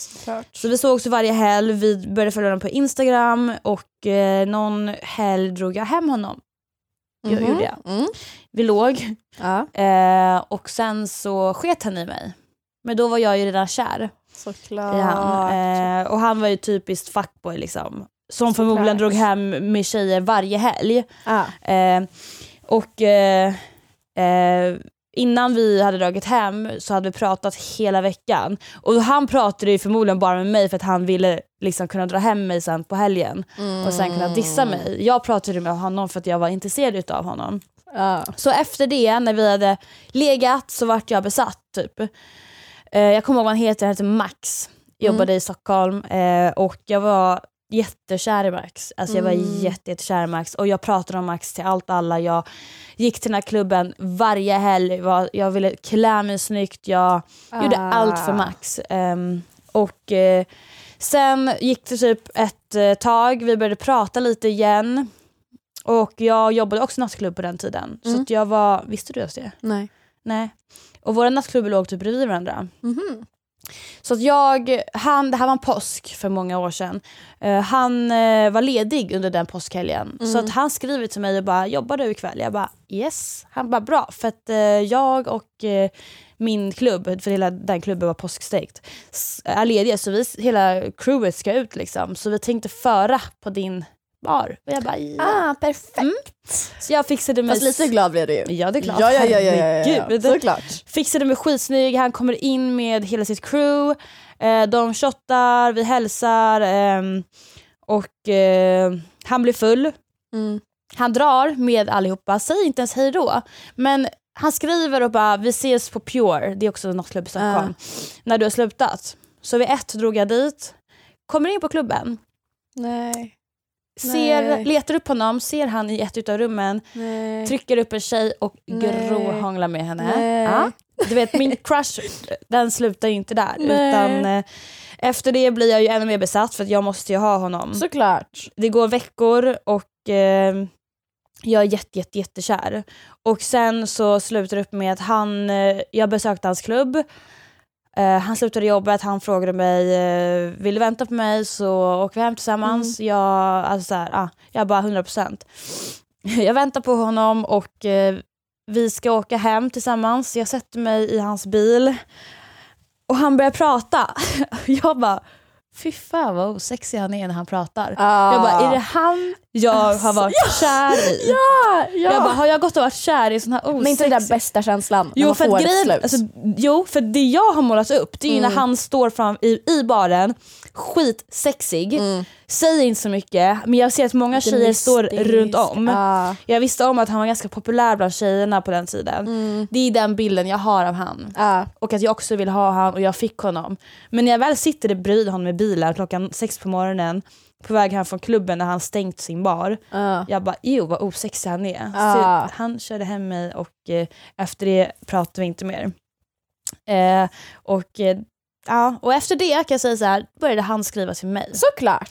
Speaker 1: så vi sågs ju varje helg, vi började följa honom på Instagram och eh, någon helg drog jag hem honom. Jag
Speaker 2: Mhm.
Speaker 1: gjorde jag.
Speaker 2: Mm.
Speaker 1: Vi låg
Speaker 2: Ja,
Speaker 1: eh, och sen så sket han i mig. Men då var jag ju redan kär
Speaker 2: såklart.
Speaker 1: i han. Eh, och han var ju typiskt fuckboy liksom. Som förmodligen
Speaker 2: Såklart.
Speaker 1: drog hem med tjejer varje helg.
Speaker 2: ja.
Speaker 1: Eh, och eh, eh, innan vi hade dragit hem så hade vi pratat hela veckan. Och han pratade ju förmodligen bara med mig för att han ville liksom kunna dra hem mig sen på helgen och sen kunna dissa mig. Jag pratade med honom för att jag var intresserad av honom.
Speaker 2: Ja.
Speaker 1: Så efter det, när vi hade legat, så vart jag besatt typ. Eh, jag kommer ihåg vad han heter, han heter Max. Jobbade i Stockholm eh, och jag var jättekär i Max. Alltså jag var
Speaker 2: Mm.
Speaker 1: jätte, jättekär i Max och jag pratade om Max till allt och alla. Jag gick till den här klubben varje helg, var, jag ville klä mig snyggt, jag gjorde
Speaker 2: Ah.
Speaker 1: allt för Max. Ehm, och eh, sen gick det typ ett eh, tag, vi började prata lite igen. Och jag jobbade också nattklubb på den tiden. Så
Speaker 2: Mm.
Speaker 1: att jag var, visste du ens det?
Speaker 2: Ah. Nej.
Speaker 1: Nej. Och våra nattklubbar låg typ bredvid varandra.
Speaker 2: Mhm.
Speaker 1: Så att jag, han, det här var en påsk för många år sedan. Eh, han eh, var ledig under den påskhelgen.
Speaker 2: Mm.
Speaker 1: Så att han skriver till mig och bara, jobbar du ikväll? Jag bara, yes. Han bara, bra. För att eh, jag och eh, min klubb, för hela den klubben var påskstängt, s- är lediga. Så vi, hela crewet ska ut liksom. Så vi tänkte föra på din bar. Och jag bara, ja.
Speaker 2: Ah, perfekt.
Speaker 1: Så jag fixade mig...
Speaker 2: Fast lite glad blev du ju.
Speaker 1: Ja det är klart.
Speaker 2: Ja, ja, ja, ja, ja, ja.
Speaker 1: Herregud.
Speaker 2: såklart.
Speaker 1: Fixade mig skitsnygg, han kommer in med hela sitt crew. Eh, de shottar, vi hälsar ehm, och eh, han blir full.
Speaker 2: Mm.
Speaker 1: Han drar med allihopa, säger inte ens hej då. Men han skriver och bara vi ses på Pure, det är också en nattklubb i Stockholm, när du har slutat. Så vid ett drog jag dit, kommer in på klubben,
Speaker 2: Nej,
Speaker 1: ser,
Speaker 2: Nej.
Speaker 1: letar upp honom, ser han i ett utav rummen,
Speaker 2: nej.
Speaker 1: trycker upp en tjej och
Speaker 2: Nej.
Speaker 1: gråhånglar med henne.
Speaker 2: Nej.
Speaker 1: Ja. Du vet min crush den slutar ju inte där
Speaker 2: Nej.
Speaker 1: utan eh, efter det blir jag ju ännu mer besatt för att jag måste ju ha honom.
Speaker 2: Såklart.
Speaker 1: Det går veckor och eh, jag är jätte, jätte, jättekär. Och sen så slutar det upp med att han, eh, jag besökte hans klubb Eh, han slutade jobbet, han frågade mig, eh, vill du vänta på mig så åker vi hem tillsammans. Jag, alltså så här, ah, jag bara 100%. Jag väntar på honom och eh, vi ska åka hem tillsammans. Jag sätter mig i hans bil och han börjar prata. Jag bara, fy fan vad osexig han är när han pratar.
Speaker 2: Ah.
Speaker 1: Jag bara, är det han Alltså, jag har varit kär i?
Speaker 2: Ja, ja.
Speaker 1: Jag bara, har jag gått och varit kär i sån här osexig...
Speaker 2: men inte den där bästa känslan när
Speaker 1: Jo
Speaker 2: man
Speaker 1: för,
Speaker 2: får
Speaker 1: att
Speaker 2: ett
Speaker 1: grejen,
Speaker 2: slut.
Speaker 1: alltså, jo, för det jag har målat upp det är ju när han står fram i, i baren, skitsexig, säger inte så mycket men jag ser att många
Speaker 2: Lite
Speaker 1: tjejer står
Speaker 2: mystisk.
Speaker 1: runt om.
Speaker 2: Ah.
Speaker 1: Jag visste om att han var ganska populär bland tjejerna på den tiden. Det är den bilden jag har av han.
Speaker 2: Ja.
Speaker 1: Och att jag också vill ha han och jag fick honom. Men när jag väl sitter bredvid honom i bilen klockan sex på morgonen på väg hem från klubben när han stängt sin bar.
Speaker 2: Ja.
Speaker 1: Jag bara ew vad osexig han är.
Speaker 2: Ah.
Speaker 1: Så han körde hem mig och eh, efter det pratade vi inte mer. Eh, och, eh, ja, och efter det kan jag säga så här, började han skriva till mig.
Speaker 2: Såklart.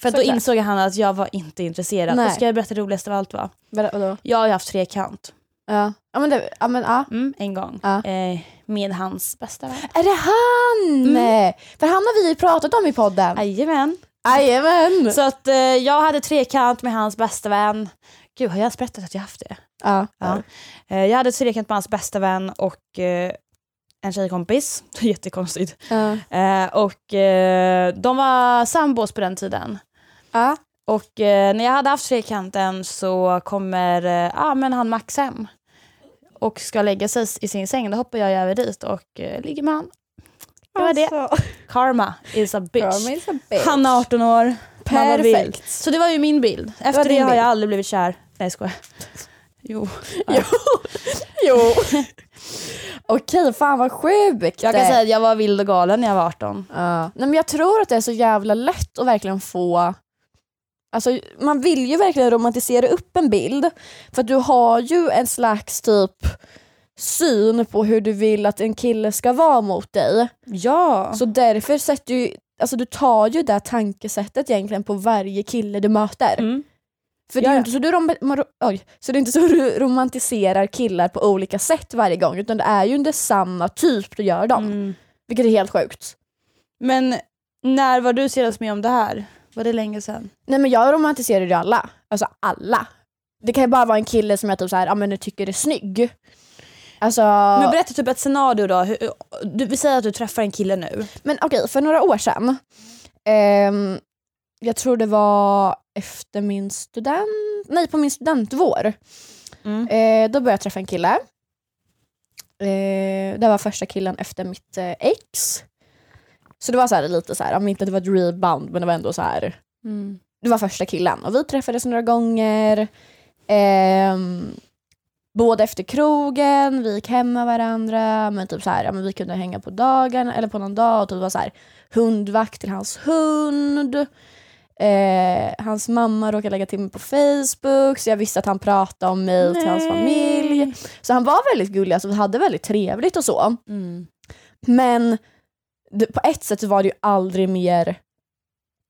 Speaker 1: För att då
Speaker 2: såklart.
Speaker 1: insåg han att jag var inte intresserad.
Speaker 2: Nej.
Speaker 1: Och ska jag berätta det roligaste av allt va?
Speaker 2: Vadå, vadå?
Speaker 1: Jag har ju haft trekant,
Speaker 2: Ja. Ja, men det, ja, men, ja.
Speaker 1: mm, en gång,
Speaker 2: Ja.
Speaker 1: eh, med hans bästa vän.
Speaker 2: Är det han? För han har vi ju pratat om i podden.
Speaker 1: Jajamän.
Speaker 2: Jajamän.
Speaker 1: Så att eh, jag hade trekant med hans bästa vän. Gud, har jag ens berättat att jag haft det?
Speaker 2: Ja.
Speaker 1: Ja. Eh, jag hade trekant med hans bästa vän och eh, en tjejkompis. Jättekonstigt.
Speaker 2: Ja.
Speaker 1: Eh, och eh, de var sambos på den tiden.
Speaker 2: Ja.
Speaker 1: Och eh, när jag hade haft trekanten så kommer eh, ah, men han Max hem och ska lägga sig i sin säng. Då hoppar jag över dit och eh, ligger med han. Det var det. Karma is a bitch.
Speaker 2: Promise Alltså. a bitch.
Speaker 1: Han är 18 år. man var vild.
Speaker 2: Perfekt.
Speaker 1: Så det var ju min bild. Efter
Speaker 2: var
Speaker 1: det,
Speaker 2: din
Speaker 1: har
Speaker 2: bild.
Speaker 1: jag aldrig blivit kär. Nej jag skojar. Jo.
Speaker 2: Jo. Okej, fan vad sjukt. Eh,
Speaker 1: Jag kan säga att jag var vild och galen när jag var 18.
Speaker 2: Ja. Nej, men jag tror att det är så jävla lätt att verkligen få Alltså, man vill ju verkligen romantisera upp en bild för att du har ju en slags typ syn på hur du vill att en kille ska vara mot dig.
Speaker 1: Ja.
Speaker 2: Så därför sätter ju, alltså du tar ju det tankesättet egentligen på varje kille du möter.
Speaker 1: Mm.
Speaker 2: För det är
Speaker 1: Ja,
Speaker 2: ju
Speaker 1: ja.
Speaker 2: inte så du, rom- ma- oj, så det är inte så du romantiserar killar på olika sätt varje gång utan det är ju inte samma typ du gör dem.
Speaker 1: Mm.
Speaker 2: Vilket är helt sjukt.
Speaker 1: Men när var du senast med om det här? Var det länge sedan?
Speaker 2: Nej men jag romantiserar ju alla. Alltså alla. Det kan ju bara vara en kille som jag typ så här, ja men jag tycker är snygg. Alltså,
Speaker 1: Men
Speaker 2: men,
Speaker 1: berätta typ ett scenario då. Hur, du, vi säger att du träffar en kille nu.
Speaker 2: okej, för några år sedan. ehm, jag tror det var efter min student, nej på min studentvår.
Speaker 1: Mm.
Speaker 2: Eh, då började jag träffa en kille. Eh, det var första killen efter mitt eh, ex. Så det var så här lite så här, om inte det var ett rebound men det var ändå så här. Det var första killen och vi träffades några gånger. Ehm, både efter krogen, vi gick hem med varandra. Men typ så här, ja, men vi kunde hänga på dagen eller på någon dag. Och typ var så här, hundvakt till hans hund. Eh, hans mamma råkade lägga till mig på Facebook så jag visste att han pratade om mig till hans familj. Så han var väldigt gullig, alltså, vi hade väldigt trevligt och så.
Speaker 1: Mm.
Speaker 2: Men det, på ett sätt så var det ju aldrig mer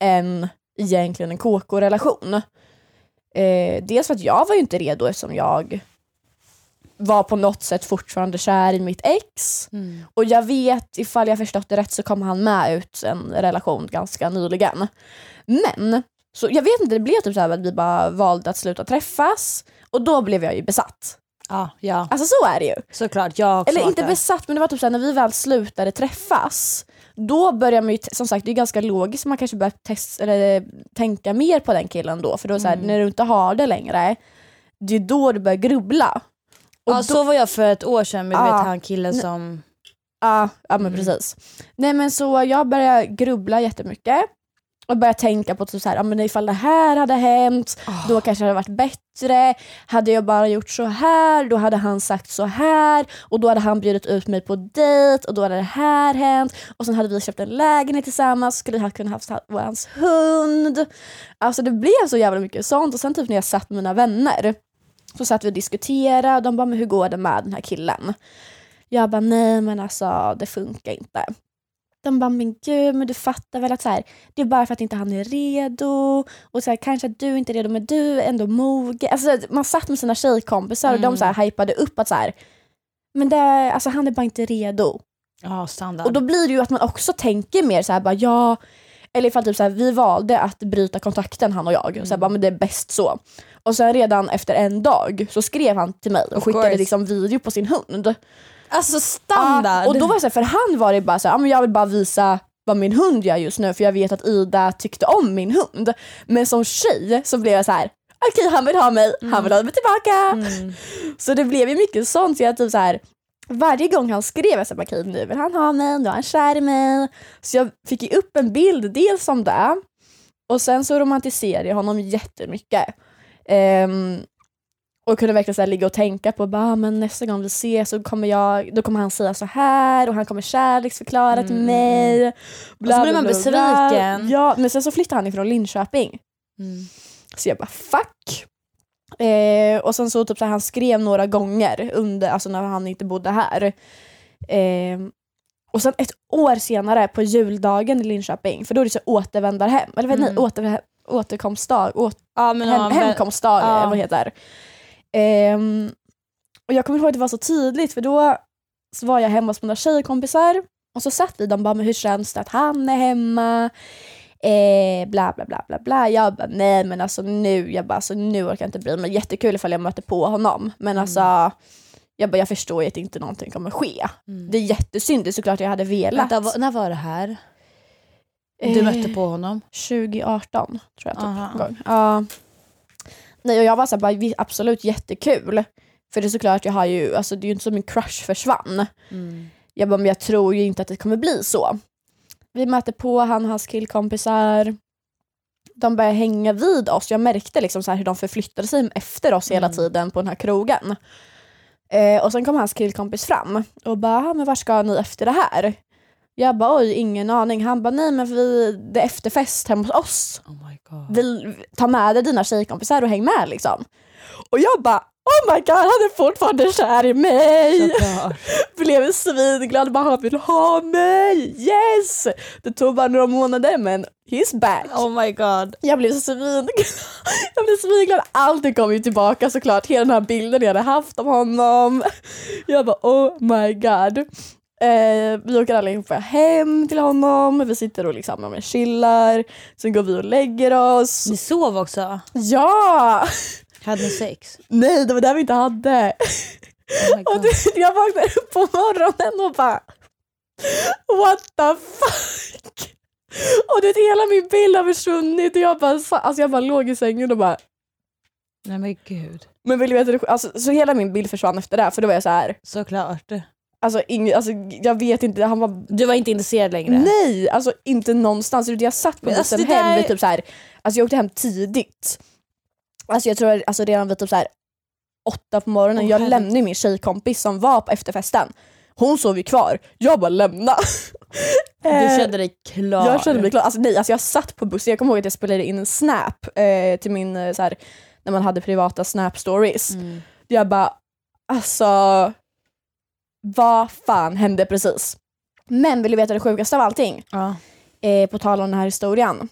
Speaker 2: än egentligen en KK-relation. Eh, dels för att jag var ju inte redo eftersom jag var på något sätt fortfarande kär i mitt ex.
Speaker 1: Mm.
Speaker 2: Och jag vet, ifall jag förstått det rätt, så kom han med ut en relation ganska nyligen. Men, så jag vet inte, det blev typ så här att vi bara valde att sluta träffas och då blev jag ju besatt.
Speaker 1: Ja, Ah, ja,
Speaker 2: Alltså så är det ju.
Speaker 1: såklart. Jag har också
Speaker 2: Eller
Speaker 1: varit
Speaker 2: inte
Speaker 1: där.
Speaker 2: besatt, men det var typ såhär när vi väl slutade träffas, då börjar man ju, t- som sagt det är ganska logiskt, man kanske börjar test, eller, tänka mer på den killen då, för då så här,
Speaker 1: Mm.
Speaker 2: när du inte har det längre, det är då du börjar grubbla. Och
Speaker 1: ja,
Speaker 2: då,
Speaker 1: så var jag för ett år sedan med du
Speaker 2: Ja.
Speaker 1: vet, han killen som...
Speaker 2: ja, ja men precis. Nej men så jag börjar grubbla jättemycket och börjar tänka på typ så här, ja, men ifall det här hade hänt, då kanske det hade varit bättre. Hade jag bara gjort så här, då hade han sagt så här och då hade han bjudit ut mig på dejt och då hade det här hänt. Och sen hade vi köpt en lägenhet tillsammans, skulle ha kunnat haft ha- hans hund. Alltså det blev så jävla mycket sånt och sen typ när jag satt med mina vänner så satt vi och diskuterade och de bara, men hur går det med den här killen? Jag bara, nej men alltså det funkar inte. De bara, men gud, men du fattar väl att så här, det är bara för att inte han är redo och så här, kanske att du inte är redo men du är ändå mogen. Alltså, man satt med sina
Speaker 1: Mm.
Speaker 2: tjejkompisar och de så här, hypade upp att så här, men det, alltså, han är bara inte redo.
Speaker 1: Ja, standard.
Speaker 2: Och då blir det ju att man också tänker mer så här bara ja, eller ifall typ så här, vi valde att bryta kontakten han och jag, så här,
Speaker 1: Mm.
Speaker 2: bara, men det är bäst så. Och sen redan efter en dag så skrev han till mig och
Speaker 1: Of
Speaker 2: skickade
Speaker 1: course.
Speaker 2: liksom video på sin hund.
Speaker 1: alltså standard!
Speaker 2: Ja, och då var jag så här, för han var det bara så här, ja, men jag vill bara visa vad min hund gör just nu för jag vet att Ida tyckte om min hund. Men som tjej så blev jag så här. okej han vill ha mig, han vill ha mig tillbaka. Så det blev ju mycket sånt. Så jag typ så här, varje gång han skrev jag så här, okej nu vill han ha mig, nu är han kär i mig. Så jag fick ju upp en bild dels om det och sen så romantiserade jag honom jättemycket. Ehm, och kunde verkligen så här ligga och tänka på bara, "Ah, men nästa gång vi ses så kommer, jag, då kommer han säga så här och han kommer kärleksförklara till
Speaker 1: Mm.
Speaker 2: mig. Bla,
Speaker 1: så blir man
Speaker 2: bla, bla, bla.
Speaker 1: besviken.
Speaker 2: Ja, men sen så flyttade han ifrån Linköping.
Speaker 1: Mm.
Speaker 2: Så jag bara fuck. Eh, och sen så typ så här, han skrev några gånger under, alltså när han inte bodde här. Eh, och sen ett år senare på juldagen i Linköping, för då är det så återvändarhem, eller vad
Speaker 1: Mm.
Speaker 2: nej, åter, återkomstdag, åt,
Speaker 1: Ja, men,
Speaker 2: hem,
Speaker 1: om-
Speaker 2: hemkomstdag
Speaker 1: ja.
Speaker 2: eller vad det heter. Ehm, och jag kommer ihåg att det var så tydligt för då så var jag hemma hos mina tjejkompisar och så satt vi de bara men hur känns det att han är hemma? Eh, bla bla bla bla bla. Jag bara nej men alltså nu, jag bara alltså nu orkar jag inte bry mig. Jättekul ifall jag möter på honom men
Speaker 1: Mm.
Speaker 2: alltså jag bara jag förstår ju att inte någonting kommer ske.
Speaker 1: Mm.
Speaker 2: Det är jättesynd, det är såklart jag hade velat.
Speaker 1: Vänta, vad- när var det här? Du
Speaker 2: Eh,
Speaker 1: mötte på honom?
Speaker 2: 2018 tror jag typ.
Speaker 1: Aha.
Speaker 2: någon gång. Ja. Nej, och jag var så här, bara, vi- absolut jättekul. För det är såklart, jag har ju, alltså, det är ju inte som min crush försvann. Jag bara, men jag tror ju inte att det kommer bli så. Vi möter på han och hans killkompisar. De börjar hänga vid oss. Jag märkte liksom så här hur de förflyttade sig efter oss hela
Speaker 1: Mm.
Speaker 2: tiden på den här krogen. Eh, och sen kom hans killkompis fram och bara, "Ah, men var ska ni efter det här? Jag bara, oj, ingen aning. Han bara, nej men vi, det är efterfest hemma hos oss
Speaker 1: Oh my god.
Speaker 2: vill ta med dig dina tjejkompisar och häng med liksom. Och jag bara oh my god han är fortfarande kär i mig!
Speaker 1: Såklart.
Speaker 2: Blev svinglad bara han vill ha mig! Yes! Det tog bara några månader men he's back.
Speaker 1: Oh my god.
Speaker 2: Jag blev svinglad. Jag blev svinglad. Allting kom ju tillbaka såklart. Hela den här bilden jag hade haft om honom. Jag bara oh my god. Eh, vi åker allihopa hem till honom. Vi sitter och liksom ja, men chillar. Sen går vi och lägger oss.
Speaker 1: Ni sov också?
Speaker 2: Ja!
Speaker 1: Hade ni sex?
Speaker 2: Nej, det var där vi inte hade.
Speaker 1: Oh my
Speaker 2: Och
Speaker 1: god.
Speaker 2: du, vet, jag vaknade upp på morgonen och bara What the fuck? Och du vet, hela min bild har försvunnit och jag bara, sa- alltså jag bara låg i sängen och bara
Speaker 1: Nej men gud.
Speaker 2: men vill du veta det sj- alltså, Så hela min bild försvann efter det här, för då var jag så här,
Speaker 1: Såklart.
Speaker 2: alltså, ing, alltså jag vet inte, han var
Speaker 1: Du var inte intresserad längre?
Speaker 2: nej, alltså inte någonstans. Du vet, Jag satt på
Speaker 1: Men
Speaker 2: bussen
Speaker 1: alltså, det
Speaker 2: hem
Speaker 1: där-
Speaker 2: vid typ så här, alltså jag åkte hem tidigt. Alltså jag tror alltså redan vid typ så här åtta på morgonen,
Speaker 1: Åh,
Speaker 2: jag
Speaker 1: herregud.
Speaker 2: lämnade ju min tjejkompis som var på efterfesten. Hon sov ju kvar, jag bara lämna.
Speaker 1: Du
Speaker 2: Eh,
Speaker 1: kände dig klar?
Speaker 2: jag kände mig klar. Alltså, nej, alltså jag satt på bussen, jag kommer ihåg att jag spelade in en snap eh, till min, eh, så här, när man hade privata snap stories.
Speaker 1: Mm.
Speaker 2: Jag bara, alltså vad fan hände precis? Men vill du veta det sjukaste av allting?
Speaker 1: Ja.
Speaker 2: eh, på tal om den här historien.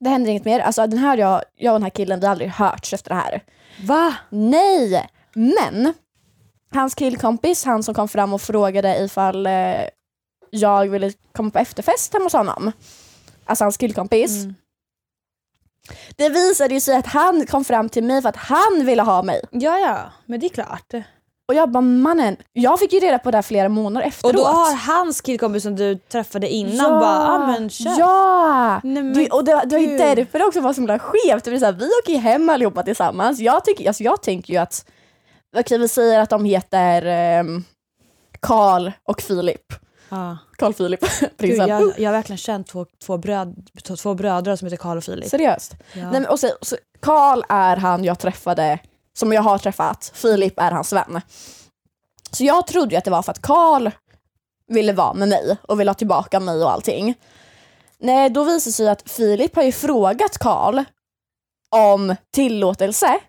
Speaker 2: Det händer inget mer. Alltså, den här jag, jag och den här killen, vi har aldrig hörts efter det här.
Speaker 1: Va?
Speaker 2: Nej! Men hans killkompis, han som kom fram och frågade ifall eh, jag ville komma på efterfest hemma hos honom. Alltså hans killkompis.
Speaker 1: Mm.
Speaker 2: Det visade ju sig att han kom fram till mig för att han ville ha mig.
Speaker 1: Ja, ja. Men det är klart.
Speaker 2: Och jag bara mannen, jag fick ju reda på det här flera månader
Speaker 1: Och
Speaker 2: efteråt.
Speaker 1: då har hans killkompis som du träffade innan bara, ah, men kör.
Speaker 2: Ja!
Speaker 1: Nej, men
Speaker 2: Det, och det, det var ju
Speaker 1: gud.
Speaker 2: därför det också var så himla skevt. Det blir så här, vi åker ju hem allihopa tillsammans. Jag tänker, alltså jag tänker ju att, okej vi säger att de heter ehm, Karl och Filip.
Speaker 1: Ja.
Speaker 2: Karl Filip,
Speaker 1: Gud,
Speaker 2: prinsen. Oh,
Speaker 1: jag, jag har verkligen känt två, två, bröd, två- två bröder som heter Karl och Filip.
Speaker 2: seriöst.
Speaker 1: Ja.
Speaker 2: Nej, men, och så, så, Karl är han jag träffade, som jag har träffat. Filip är hans vän. Så jag trodde ju att det var för att Karl ville vara med mig och ville ha tillbaka mig och allting. Nej, då visar det sig att Filip har ju frågat Karl om tillåtelse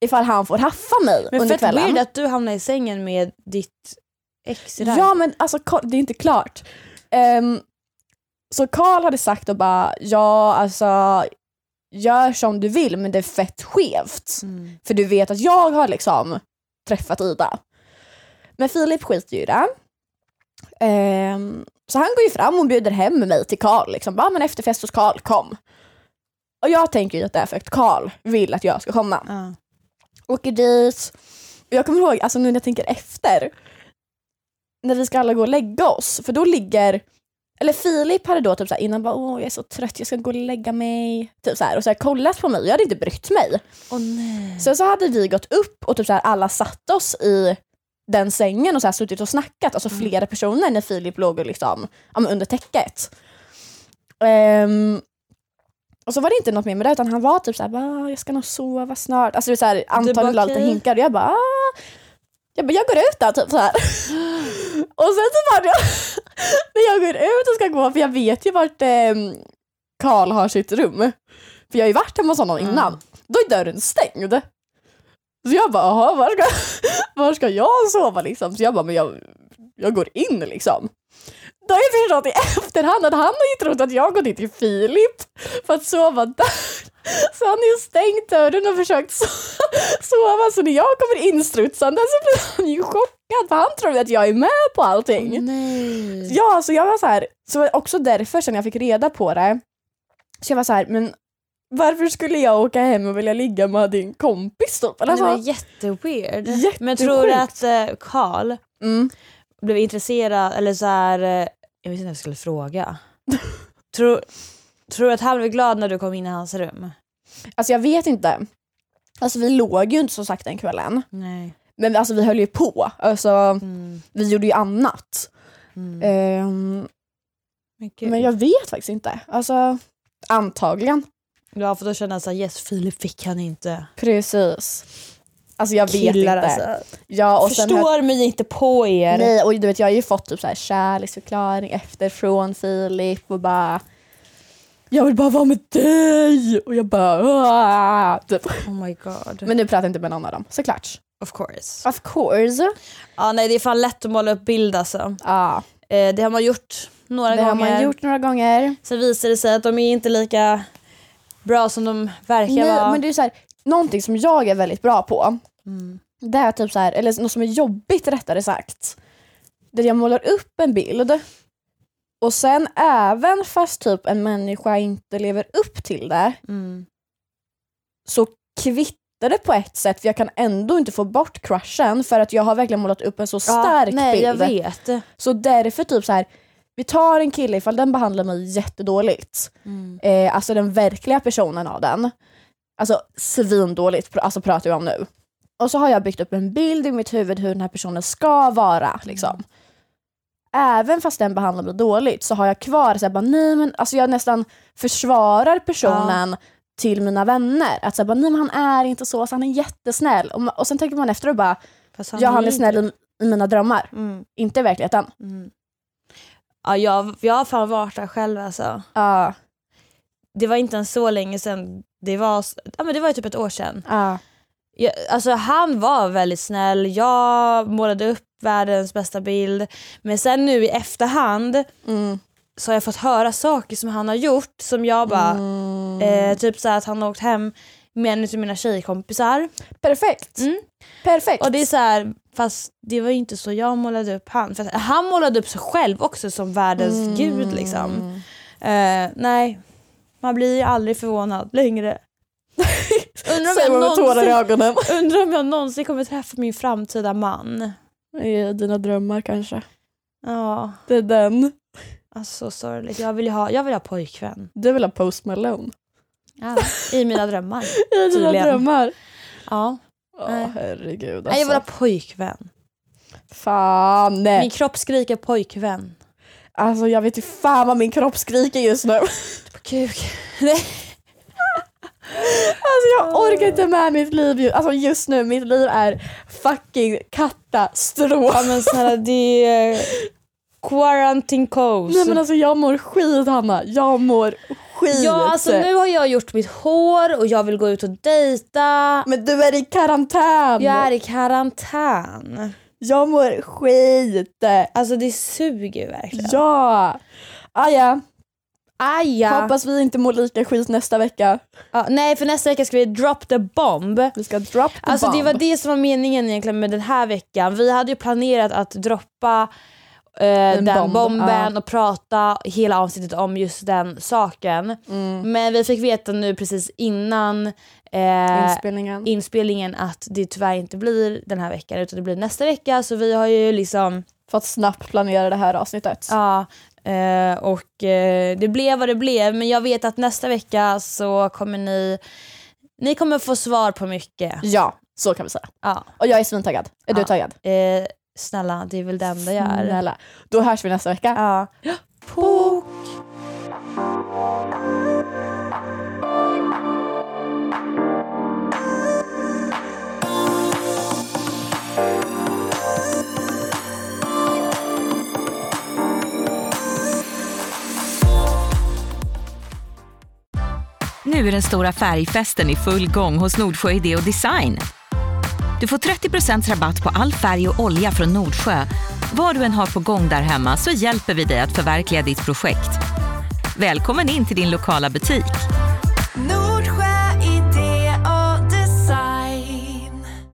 Speaker 2: ifall han får haffa mig
Speaker 1: men
Speaker 2: under
Speaker 1: fett
Speaker 2: kvällen.
Speaker 1: weird att du hamnade i sängen med ditt ex i det här.
Speaker 2: Ja men alltså Ka- det är inte klart. Ehm, så Karl hade sagt och bara ja alltså gör som du vill men det är fett skevt.
Speaker 1: Mm.
Speaker 2: För du vet att jag har liksom träffat Ida. Men Filip skiter ju i det. Ehm, så han går ju fram och bjuder hem mig till Karl. Liksom. Bara, men efterfest hos Karl, kom. Och jag tänker ju att det är för att Karl vill att jag ska komma.
Speaker 1: Ja.
Speaker 2: Åker dit. Och Jag kommer ihåg, alltså nu när jag tänker efter, när vi ska alla gå och lägga oss, för då ligger eller Filip hade då typ såhär, innan bara åh jag är så trött, jag ska gå och lägga mig. Typ såhär, och så kollat på mig, jag hade inte brytt mig.
Speaker 1: Åh nej.
Speaker 2: Sen så hade vi gått upp och typ så här, alla satt oss i den sängen och så här, suttit och snackat, alltså flera personer när Filip låg och liksom, ja, men under täcket. Ehm, och så var det inte något mer med det utan han var typ såhär, bara, jag ska nog sova snart. Alltså det är så här,
Speaker 1: bara,
Speaker 2: Anton la lite
Speaker 1: okej.
Speaker 2: hinkar och jag bara, "Ah." jag bara, jag går ut då typ så här. och sen så var det, när jag går ut och ska gå, för jag vet ju vart ehm, Karl har sitt rum. För jag har ju varit hemma hos honom
Speaker 1: Mm.
Speaker 2: innan. Då är dörren stängd. Så jag bara, jaha, var ska, var ska jag sova liksom? Så jag bara, men jag, jag går in liksom. Då har jag förstått i efterhand att han har ju trott att jag gått in till Filip för att sova där. Så han har ju stängt dörren och försökt so- sova. Så när jag kommer instrutsande så blir han ju chockad för han tror ju att jag är med på allting.
Speaker 1: Mm. nej.
Speaker 2: Ja, så jag var så här, så var det också därför sen jag fick reda på det, så jag var så här, men varför skulle jag åka hem och vilja ligga med din kompis typ? Eller
Speaker 1: Det var
Speaker 2: så,
Speaker 1: jätteweird.
Speaker 2: Jättesjukt.
Speaker 1: Men tror du att eh, Karl
Speaker 2: mm.
Speaker 1: blev intresserad eller så här, eh, jag vet inte vad jag skulle fråga. tror, tror du att han blev glad när du kom in i hans rum?
Speaker 2: Alltså jag vet inte. Alltså vi låg ju inte så sagt den kvällen,
Speaker 1: Nej.
Speaker 2: men alltså vi höll ju på. Alltså
Speaker 1: Mm,
Speaker 2: vi gjorde ju annat.
Speaker 1: mm.
Speaker 2: Ehm,
Speaker 1: Men gud.
Speaker 2: men jag vet faktiskt inte. Alltså antagligen.
Speaker 1: Ja för då känner jag såhär yes Filip fick han inte.
Speaker 2: Precis. Alltså jag vet
Speaker 1: Killar
Speaker 2: inte.
Speaker 1: alltså.
Speaker 2: Ja, och sen hör-
Speaker 1: Förstår mig inte på er.
Speaker 2: Nej, och du vet jag har ju fått typ så här kärleksförklaring efter från Filip och bara jag vill bara vara med dig! Och jag bara "Åh!" typ.
Speaker 1: Oh my god.
Speaker 2: Men nu pratar jag inte med någon av dem, såklart.
Speaker 1: of course.
Speaker 2: Of course.
Speaker 1: Ja nej det är fan lätt att måla upp bild alltså.
Speaker 2: Ja,
Speaker 1: Eh, det har man gjort några
Speaker 2: det har
Speaker 1: gånger.
Speaker 2: man gjort några gånger.
Speaker 1: Sen visar det sig att de är inte lika bra som de verkar
Speaker 2: Nej,
Speaker 1: vara.
Speaker 2: men det är så här, någonting som jag är väldigt bra på,
Speaker 1: Mm.
Speaker 2: det är typ så här, eller något som är jobbigt rättare sagt, där jag målar upp en bild och sen även fast typ en människa inte lever upp till det
Speaker 1: Mm.
Speaker 2: så kvittar det på ett sätt för jag kan ändå inte få bort crushen för att jag har verkligen målat upp en så stark
Speaker 1: ja, nej, jag
Speaker 2: bild.
Speaker 1: vet.
Speaker 2: Så därför typ så här, vi tar en kille ifall den behandlar mig jättedåligt,
Speaker 1: Mm.
Speaker 2: eh, alltså den verkliga personen av den, alltså svindåligt pr- alltså pratar jag om nu. Och så har jag byggt upp en bild i mitt huvud hur den här personen ska vara. Liksom. Även fast den behandlar mig dåligt så har jag kvar så här, bara, nej, men, alltså jag nästan försvarar personen till mina vänner. Att så här, bara, nej, men han är inte så, så han är jättesnäll. Och, ma- och sen tänker man efter och bara,
Speaker 1: Fast
Speaker 2: ja han
Speaker 1: ju
Speaker 2: är snäll
Speaker 1: inte-
Speaker 2: i, i mina drömmar,
Speaker 1: Mm.
Speaker 2: inte i verkligheten.
Speaker 1: Mm. Ja, jag, jag har fan varit där själv alltså.
Speaker 2: Ja,
Speaker 1: Det var inte ens så länge sedan. Det var, s- ja, men det var ju typ ett år sedan.
Speaker 2: ja,
Speaker 1: Jag, alltså, han var väldigt snäll. Jag målade upp världens bästa bild. Men sen nu i efterhand
Speaker 2: mm,
Speaker 1: så har jag fått höra saker som han har gjort som jag bara...
Speaker 2: mm.
Speaker 1: Eh, typ så här att han har åkt hem med en av mina tjejkompisar.
Speaker 2: perfekt,
Speaker 1: Mm.
Speaker 2: perfekt.
Speaker 1: Och det är så här, fast det var ju inte så jag målade upp han. För att han målade upp sig själv också som världens
Speaker 2: Mm.
Speaker 1: gud liksom. Eh, nej, man blir ju aldrig förvånad längre. undrar, om
Speaker 2: Säger
Speaker 1: jag
Speaker 2: man med tårar i
Speaker 1: någonsin,
Speaker 2: ögonen.
Speaker 1: undrar om jag någonsin kommer träffa min framtida man.
Speaker 2: I dina drömmar kanske.
Speaker 1: Ja,
Speaker 2: Det är den.
Speaker 1: alltså sorgligt. Jag vill ju ha, jag vill ha pojkvän.
Speaker 2: Du vill ha Post Malone.
Speaker 1: Ja, I mina drömmar.
Speaker 2: I dina
Speaker 1: Tydligen.
Speaker 2: drömmar.
Speaker 1: Ja.
Speaker 2: Ja,
Speaker 1: Nej.
Speaker 2: herregud
Speaker 1: Nej, jag vill
Speaker 2: alltså.
Speaker 1: ha pojkvän.
Speaker 2: Fan. nej.
Speaker 1: Min kropp skriker pojkvän.
Speaker 2: Alltså jag vet ju fan vad min kropp skriker just nu.
Speaker 1: På kuk.
Speaker 2: Alltså jag orkar inte med mitt liv ju. Alltså just nu, mitt liv är fucking
Speaker 1: Ja
Speaker 2: katastrof.
Speaker 1: men snälla det är eh, quarantine coast.
Speaker 2: Nej men alltså jag mår skit Hanna. Jag mår skit.
Speaker 1: ja alltså nu har jag gjort mitt hår och jag vill gå ut och dejta.
Speaker 2: Men du är i karantän.
Speaker 1: Jag är i karantän.
Speaker 2: jag mår skit.
Speaker 1: Alltså det suger ju verkligen.
Speaker 2: Ja. Ah, ja.
Speaker 1: Aj, ja.
Speaker 2: Hoppas vi inte mår lika skit nästa vecka.
Speaker 1: ja, nej för nästa vecka ska vi drop the bomb.
Speaker 2: Vi ska drop the
Speaker 1: Alltså
Speaker 2: bomb.
Speaker 1: det var det som var meningen egentligen med den här veckan. Vi hade ju planerat att droppa eh, den,
Speaker 2: bomb,
Speaker 1: bomben
Speaker 2: ja.
Speaker 1: och prata hela avsnittet om just den saken.
Speaker 2: Mm.
Speaker 1: Men vi fick veta nu precis innan eh,
Speaker 2: Inspelningen.
Speaker 1: inspelningen att det tyvärr inte blir den här veckan utan det blir nästa vecka så vi har ju liksom
Speaker 2: För att snabbt planera det här avsnittet.
Speaker 1: ja eh, och eh, det blev vad det blev men jag vet att nästa vecka så kommer ni ni kommer få svar på mycket.
Speaker 2: Ja, så kan vi säga.
Speaker 1: Ja.
Speaker 2: Och jag är svintaggad. Är du
Speaker 1: Ja. Mm.
Speaker 2: taggad?
Speaker 1: Eh, snälla, det är väl det enda jag är.
Speaker 2: Snälla. Då hörs vi nästa vecka.
Speaker 1: Ja. Pok!
Speaker 3: Nu är den stora färgfesten i full gång hos Nordsjö Idé och Design. Du får 30 rabatt på all färg och olja från Nordsjö. Vad du än har på gång där hemma så hjälper vi dig att förverkliga ditt projekt. Välkommen in till din lokala butik.